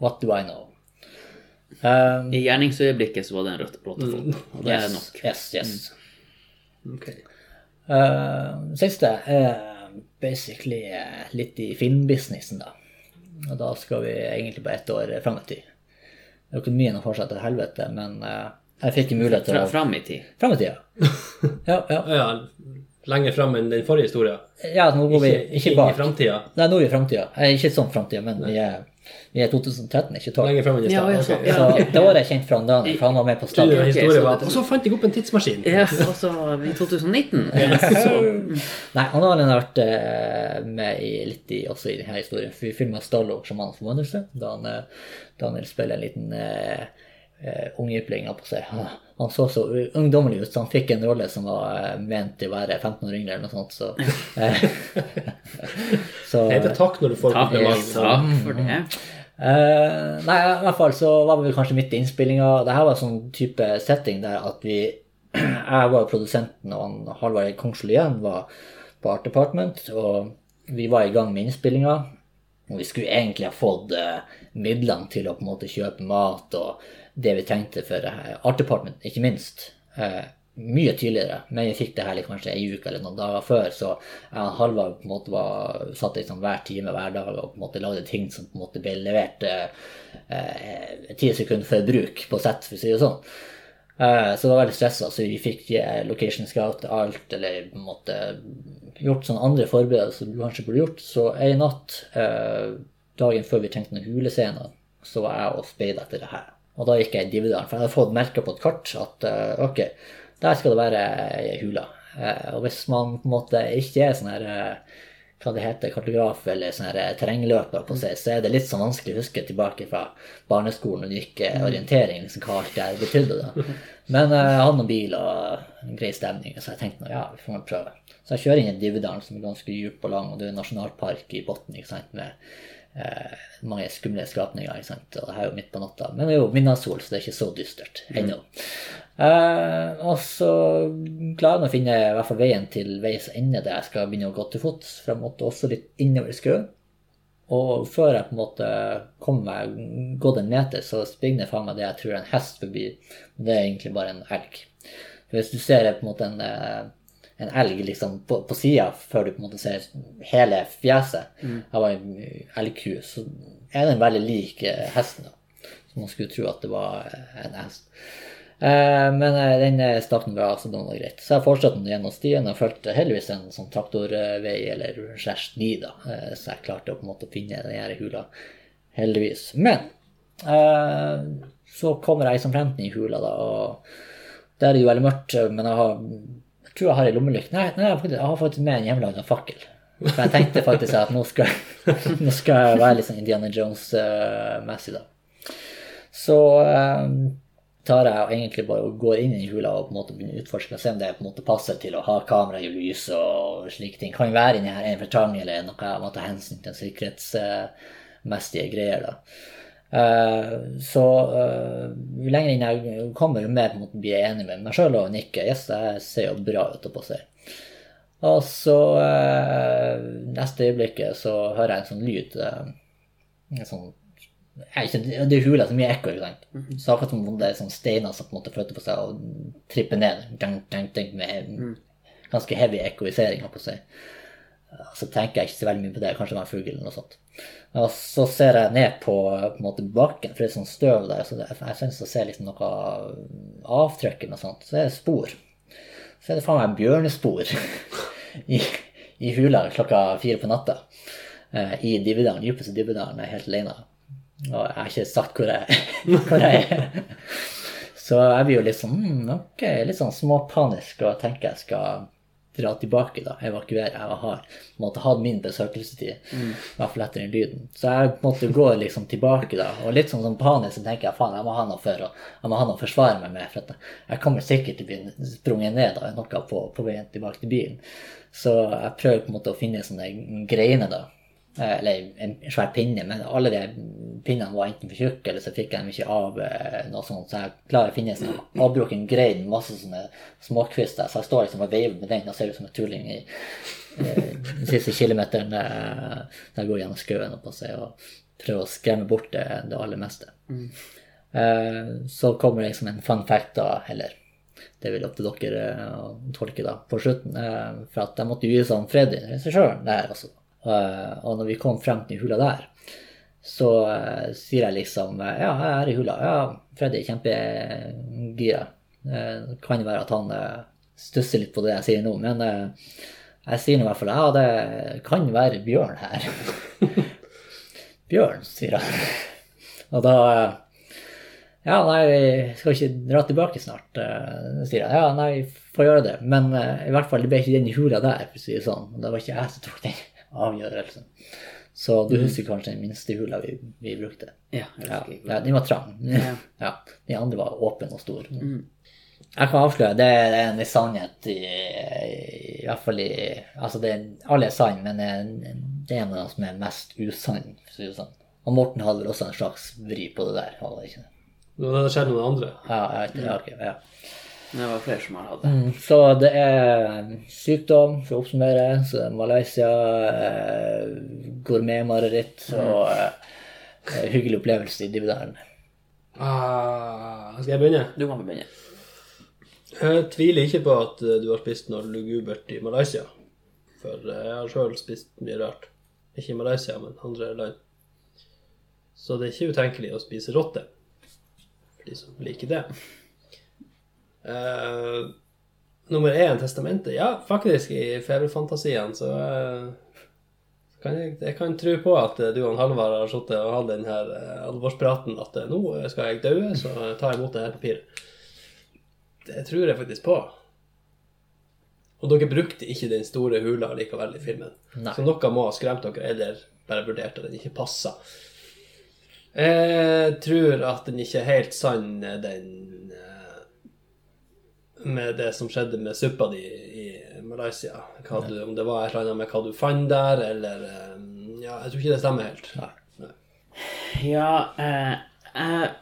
what do I know? Um, I gjerningsøyeblikket så var det en rott- rottefot. Og det er yes, nok. Mm. Yes, yes. Okay. Eh, siste er basically eh, litt i filmbusinessen, da. Og da skal vi egentlig bare ett år fram i tid. Økonomien har fortsatt til helvete, men eh, jeg fikk en mulighet til Fra, å fram i tid. Fram i tida. Ja, ja. Ja, lenger fram enn den forrige historien. ja nå går vi Ikke, ikke inn i bak. framtida. Nei, nå er vi i framtida. Eh, Ikke sånn framtida, men vi er, vi er 2013, ikke 12. Lenger fram enn i Ja, stad. ja, Ok. sånn, ja. Så det var jeg kjent fra han Daniel, for han var med på Så stadion. den ok, historien så var at, det- Og så fant jeg opp en tidsmaskin! Ja, og så i 2019. Nei, han har alene vært eh, med i, litt i, også i denne historien. For vi filma 'Starlord som hans forvandlelse', da han, eh, da han spiller en liten uh, ungjypling. holdt på å si. Han, han så så u- ungdommelig ut, så han fikk en rolle som var eh, ment til å være 15 år yngre eller noe sånt. Så, eh, så Det heter takk når du får Takk, kompliment. takk for det. Eh, nei, i hvert fall så var vi kanskje midt i innspillinga. Det her var sånn type setting der at vi Jeg var jo produsenten, og han Halvard Kongsolien var på Art Department. Og vi var i gang med innspillinga. Og vi skulle egentlig ha fått eh, midlene til å på en måte kjøpe mat og det vi trengte for eh, Art Department, ikke minst. eh, mye tidligere, men vi fikk det her liksom, kanskje ei uke eller noen dager før, så jeg og Halvard på en måte var, satt liksom hver time hver dag og på en måte lagde ting som på en måte ble levert eh, ti sekunder før bruk på sett, for å si det sånn. Eh, Så det var veldig stressa, så vi fikk eh, location scout og alt, eller på en måte gjort sånne andre forberedelser du kanskje burde gjort. Så ei natt, eh, dagen før vi trengte noen hulescener, så var jeg og speida etter det her. Og da gikk jeg i Dividalen, for jeg hadde fått merka på et kart at eh, ok, der skal det være ei hule. Eh, og hvis man på en måte ikke er sånn her eh, hva det heter, kartograf eller sånn her eh, terrengløper, på seg, så er det litt sånn vanskelig å huske tilbake fra barneskolen og gikk eh, orientering, liksom, hva alt det her betydde. da. Men eh, jeg hadde noen bil og en grei stemning, så jeg tenkte nå, ja, vi får nå prøve. Så jeg kjører inn i Dividalen, som er ganske dyp og lang, og det er en nasjonalpark i bunnen. ikke sant, med eh, mange skumle skapninger. ikke sant? Og det her er jo midt på natta. Men det er jo midnattssol, så det er ikke så dystert ennå. Eh, og så klarer jeg nå å finne i hvert fall veien til veis ende der jeg skal begynne å gå til fots. For jeg måtte også litt innover skauen. Og før jeg på en måte kommer meg gått en meter, så springer det faen meg det jeg tror er en hest forbi. Men det er egentlig bare en elg. For hvis du ser på en måte en, eh, en elg liksom på, på sida før du på en måte ser hele fjeset av en elgku, så er den veldig lik eh, hesten. da. Så man skulle tro at det var eh, en hest. Eh, Men eh, den eh, starten bra, så det var greit. Så jeg fortsatte den gjennom stien og fulgte heldigvis en sånn traktorvei eller slash ni, da. Eh, Så jeg klarte å på en måte finne den her hula, heldigvis. Men eh, så kommer jeg som fremten i hula, da, og der er det jo veldig mørkt, men jeg har jeg tror jeg har ei lommelykt. Nei, nei, jeg har faktisk- jeg har faktisk med en hjemmelaga fakkel. For jeg tenkte faktisk at nå skal, nå skal jeg være litt sånn Indiana Jones-messig, da. Så eh, tar jeg og egentlig bare og går inn i hula og på en måte begynner å utforske og se om det på en måte passer til å ha kamera i lys og slike ting. Kan jo være inni her en for trang eller noe jeg må ta hensyn til sikkerhetsmessige greier, da. Eh, så eh, jo lenger inn jeg kommer, jo mer på en måte blir jeg enig med meg sjøl og nikker. Yes, det her ser jo bra ut oppå seg. Og så eh, neste øyeblikket så hører jeg en sånn lyd. eh, en sånn jeg, er ikke, det er hula så mye ekko, ikke sant. Så akkurat som om det er sånn steiner som på en måte flytter på seg og tripper ned. Dang, dang, dang, med ganske heavy ekkoisering, holdt på å si. Så tenker jeg ikke så veldig mye på det, kanskje det var en fugl eller noe sånt. Og så ser jeg ned på, på en måte, bakken, for det er sånn støv der. Så det, jeg synes jeg ser liksom noe avtrykk eller noe sånt. Så er det spor. Så er det faen meg bjørnespor i, i hula klokka fire på natta. Eh, I Dividalen, dypeste Dividalen, jeg er helt alene. Og jeg har ikke sagt hvor jeg, hvor jeg er. Så jeg blir jo litt sånn mm, ok, litt sånn småpanisk og tenker jeg skal dra tilbake, da, evakuere. Jeg har på en måte hatt min besøkelsestid, i hvert fall etter den lyden. Så jeg på en måte går liksom tilbake, da, og litt sånn, sånn panisk så tenker jeg faen, jeg må ha noe for å jeg må ha noe å forsvare meg med, for at jeg- jeg kommer sikkert til å bli sprunget ned av noe på, på veien tilbake til bilen. Så jeg prøver på en måte å finne sånne greiner, da. Eh, Eller en svær pinne, men alle de pinnene var enten for tjukke, eller så fikk jeg dem ikke av eh, noe sånt, så jeg klarer å finne en sånn avbrukken grein, masse sånne småkvister, så jeg står liksom og veiver med den og ser ut som en tulling i eh, den siste kilometeren eh, der jeg går gjennom skauen opp og ser, og prøver å skremme bort det, det aller meste. Eh, så kommer det liksom en fun fact da, eller det vil opp til dere eh, å tolke da, på slutten. eh, For at jeg måtte jo gi sånn Freddy, regissøren, der også. Eh, Og når vi kom frem til hula der, så eh, sier jeg liksom eh, Ja, jeg er i hula. Ja, Freddy er kjempegira. Eh, Kan jo være at han eh, stusser litt på det jeg sier nå, men eh, jeg sier nå i hvert fall ja, det kan være bjørn her. bjørn, sier han. Og da eh, ja, nei, vi skal ikke dra tilbake snart, eh, sier jeg. Ja, nei, vi får gjøre det. Men eh, i hvert fall, det ble ikke den hula der, for å si det sånn. Og det var ikke jeg som tok den avgjørelsen. Så du husker kanskje den minste hula vi, vi brukte? Ja, jeg Ja, husker ikke. ja, den var trang. Ja. Ja, De andre var åpen og stor. Jeg kan avsløre, det er en viss sannhet i, i hvert fall i Altså, det, alle er sann, men det, det er en av dem som er mest usann, for å si det sånn. Og Morten hadde vel også en slags vri på det der. hadde han ikke det? Det hadde skjedd noen andre. Ja, jeg vet ikke, ja, ok, ja. Men det var flere som har hatt det. Mm, Så det er sykdom, for å oppsummere. Så det er Malaysia, eh, gourmetmareritt Mm. og eh, hyggelig opplevelse i Dividalen. Ah, skal jeg begynne? Du kan få begynne. Jeg tviler ikke på at eh, du har spist noe lugubert i Malaysia. For eh, jeg har sjøl spist mye rart. Ikke i Malaysia, men andre land. Så det er ikke utenkelig å spise rotte. For de som liker det. Eh, nummer én, testamentet. Ja, faktisk, i feberfantasiene så eh, Kan jeg, jeg kan tro på at eh, du og han Halvard har sittet og hatt den her eh, alvorspraten at eh, nå eh, skal jeg dø, så eh, ta imot det her papiret. Det tror jeg faktisk på. Og dere brukte ikke den store hula likevel i filmen. Nei. Så noe må ha skremt dere, eller bare vurdert at den ikke passa. Jeg tror at den ikke er helt sann, eh, den eh, med det som skjedde med suppa di i Malaysia. Hva du, om det var et eller annet med hva du fant der, eller eh, Ja, jeg tror ikke det stemmer helt. Nei. Ja, eh,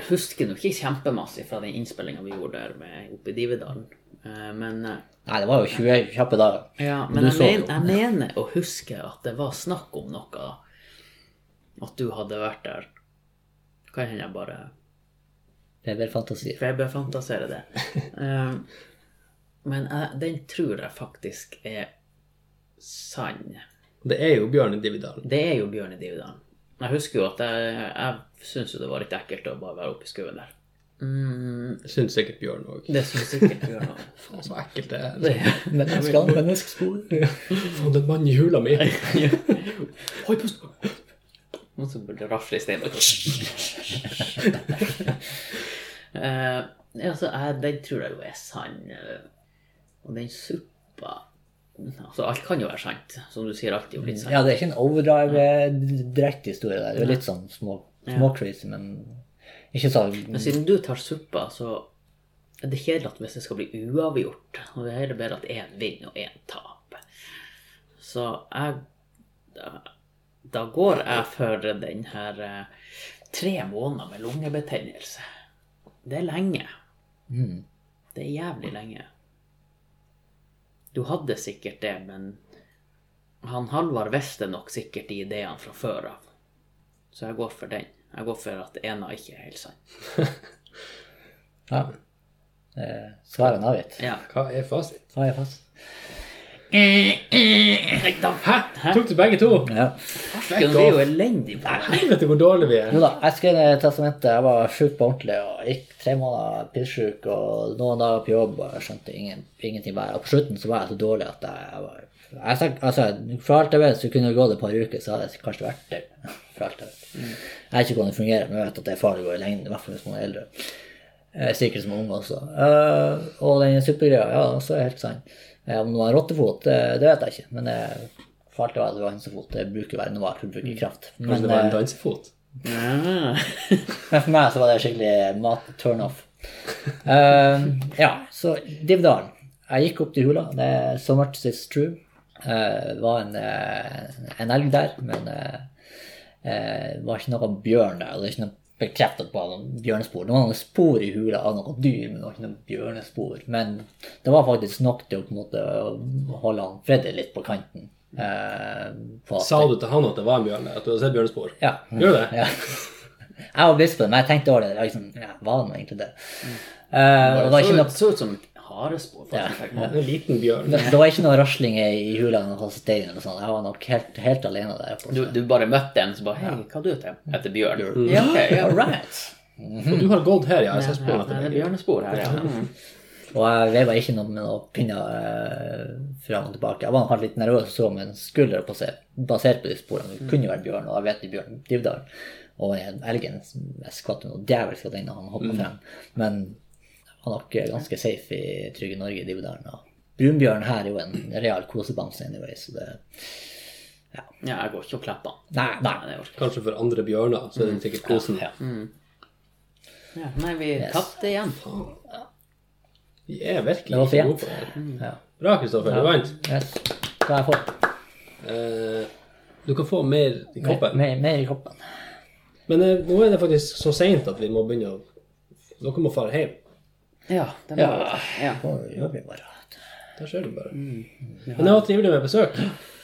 jeg husker nok ikke kjempemasse fra den innspillinga vi gjorde der med, oppe i Dividalen. Eh, men eh, Nei, det var jo 20 kjappe dager. Ja, men Du jeg, så men, det jo. jeg mener å huske at det var snakk om noe At du hadde vært der. Kan hende jeg bare Det er vel fantasier. feberfantaserer det. Eh, men jeg, den tror jeg faktisk er sann. Det er jo Bjørn i Dividalen. Det er jo Bjørn i Dividalen. Jeg husker jo at jeg, jeg syntes jo det var litt ekkelt å bare være oppe i skauen der. Mm, Syns sikkert Bjørn òg. det syns sikkert Bjørn òg. Faen, så ekkelt det er. Det- Menneskene, menneskespor. Faen, den mannen i hula mi. Oi, pust! Noen som burde rafle i steinen. Eh, ja, så jeg, den tror jeg jo er sann. eh, Og den suppa Altså, alt kan jo være sant. Som du sier, alt er jo litt sant. Ja, det er ikke en overdrive-direkte historie der. Det er jo litt sånn små, små crazy, men ikke så Men siden du tar suppa, så er det kjedelig at hvis det skal bli uavgjort, og det er heller bedre at én vinner og én taper. Så jeg da, da går jeg for den her eh, tre måneder med lungebetennelse. Det er lenge. Mm. Det er jævlig lenge. Du hadde sikkert det, men han Halvard visste nok sikkert de ideene fra før av. Så jeg går for den. Jeg går for at ena ikke er helt sann. Ja. Eh, Svarene avgitt. Ja. Hva er fasit? Hva er fast? Nei, da, hæ? Tok du begge to? Ja. Farsken, vi er jo elendig på det. Helvete, hvor dårlige vi er. Jo da, jeg skrev ned i testamentet. Jeg var sjuk på ordentlig og gikk tre måneder pissjuk og noen dager på jobb og jeg skjønte ingen, ingenting. Bare. Og på slutten så var jeg så dårlig at jeg, jeg var jeg, sa- altså, For alt jeg vet, så kunne det gått et par uker, så hadde jeg kanskje vært der. For alt jeg vet. Mm. Jeg vet ikke hvordan det fungerer, men jeg vet at det er farlig å gå i lengden, i hvert fall hvis man er eldre. Eh, Sikkert som unge også. Eh, og den suppegreia, ja, så er det helt sann. Eh, om det var en rottefot, det, det vet jeg ikke. Men eh, for alt jeg vet, det var hønsefot. Det bruker å være noe, det bruker kraft. Mm. Kanskje Men, det var eh, en dansefot? Ja. men for meg så var det skikkelig mat-turn-off. Eh, ja, så Divdalen. Jeg gikk opp til hula. Det er so much is true. Eh, Det var en, eh, en elg der, men eh, eh, det var ikke noe bjørn der. og Det er ikke noe bekreftet på noen bjørnespor. Det var noen spor i hula av noe dyr, men det var ikke noen bjørnespor. Men det var faktisk nok til å på en måte å holde han Freddy litt på kanten. Eh, på at- Sa du til han at det var en bjørn der? At du hadde sett bjørnespor? Ja. Gjorde du det? Ja. Jeg var bevisst på det, men jeg tenkte over det. det var liksom, ja, var det nå egentlig det? Eh, og det var ikke Mm. Så noe, så ut som et harespor. faktisk. Han er En liten bjørn. det, det var ikke noe rasling i i hula eller noe stein eller noe sånt. Jeg var nok helt, helt alene der. oppe. Du, du bare møtte en som bare Hei, hva du heter du? Etter bjørn. Ja, ok, ja, right. Og du har gått her, Mhm. ja. Jeg Ja, ser sporene det etter er deg. bjørnespor her, ja. Mm. Og jeg veiva ikke noe med noen pinner eh, fram og tilbake. Jeg var kanskje litt nervøs så med en skulder basert, basert på de sporene. Det kunne jo vært bjørn, og jeg vet det er bjørn Divdal. Og en elgen jeg skvatt jo noe djevelsk av den da han Mm. hoppa frem. Men han var nok eh, ganske safe i trygge Norge i Divdalen. Og brunbjørn her er jo en real kosebamse anyway, så det ja, jeg går ikke og klapper. Nei, nei. Nei, det orker jeg ikke. Kanskje for andre bjørner, så er det sikkert kosen. Ja. Ja, nei, vi tapte igjen. Vi er virkelig Det var ikke fint. gode på det. her. ja. Bra, Kristoffer. Du vant. Yes. Da har jeg fått Eh, du kan få mer i mer, koppen. mer, mer i koppen. Men eh, nå er det faktisk så seint at vi må begynne å Dere må fare hjem. Ja, det må Ja. vi. ja. Å, det gjør vi bare. Der ser du bare. Men det var trivelig med besøk.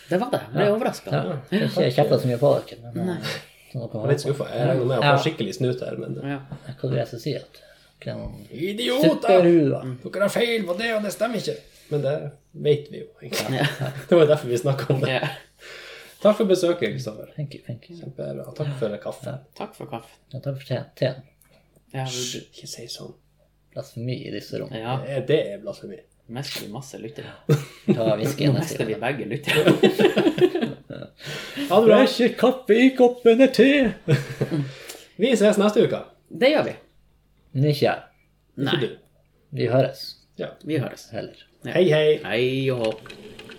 Det var det. Jeg ble overraska. Ja, jeg har ikke kjefta så mye på dere, men eh, så dere Jeg er har litt skuffa. Jeg regner med å få Ja. skikkelig snut her, men Ja. Hva er det jeg skal si? At det er noen Idioter! superhuer. Dere har feil på det, og det stemmer ikke. Men det vet vi jo, egentlig. Det var derfor vi snakka om det. Ja. Takk for besøket, Kristoffer. Thank you, thank you. Kjempebra. Takk for kaffen. Takk for kaffen. Ja, takk for teen. teen. Ja, Hysj, vi Ikke si sånn. Blasfemi i disse rom. ja, Det er- Det er blasfemi. mister vi masse lyttere. Ta whisky Nå neste mister vi gang. begge lyttere. Ha det Det bra. er ikke kaffe i koppen, det er te! Vi ses neste uke. Det gjør vi. Men ikke jeg. Ikke Nei. du. Vi høres Ja. Vi høres. heller. Hei, hei. Hei og hå.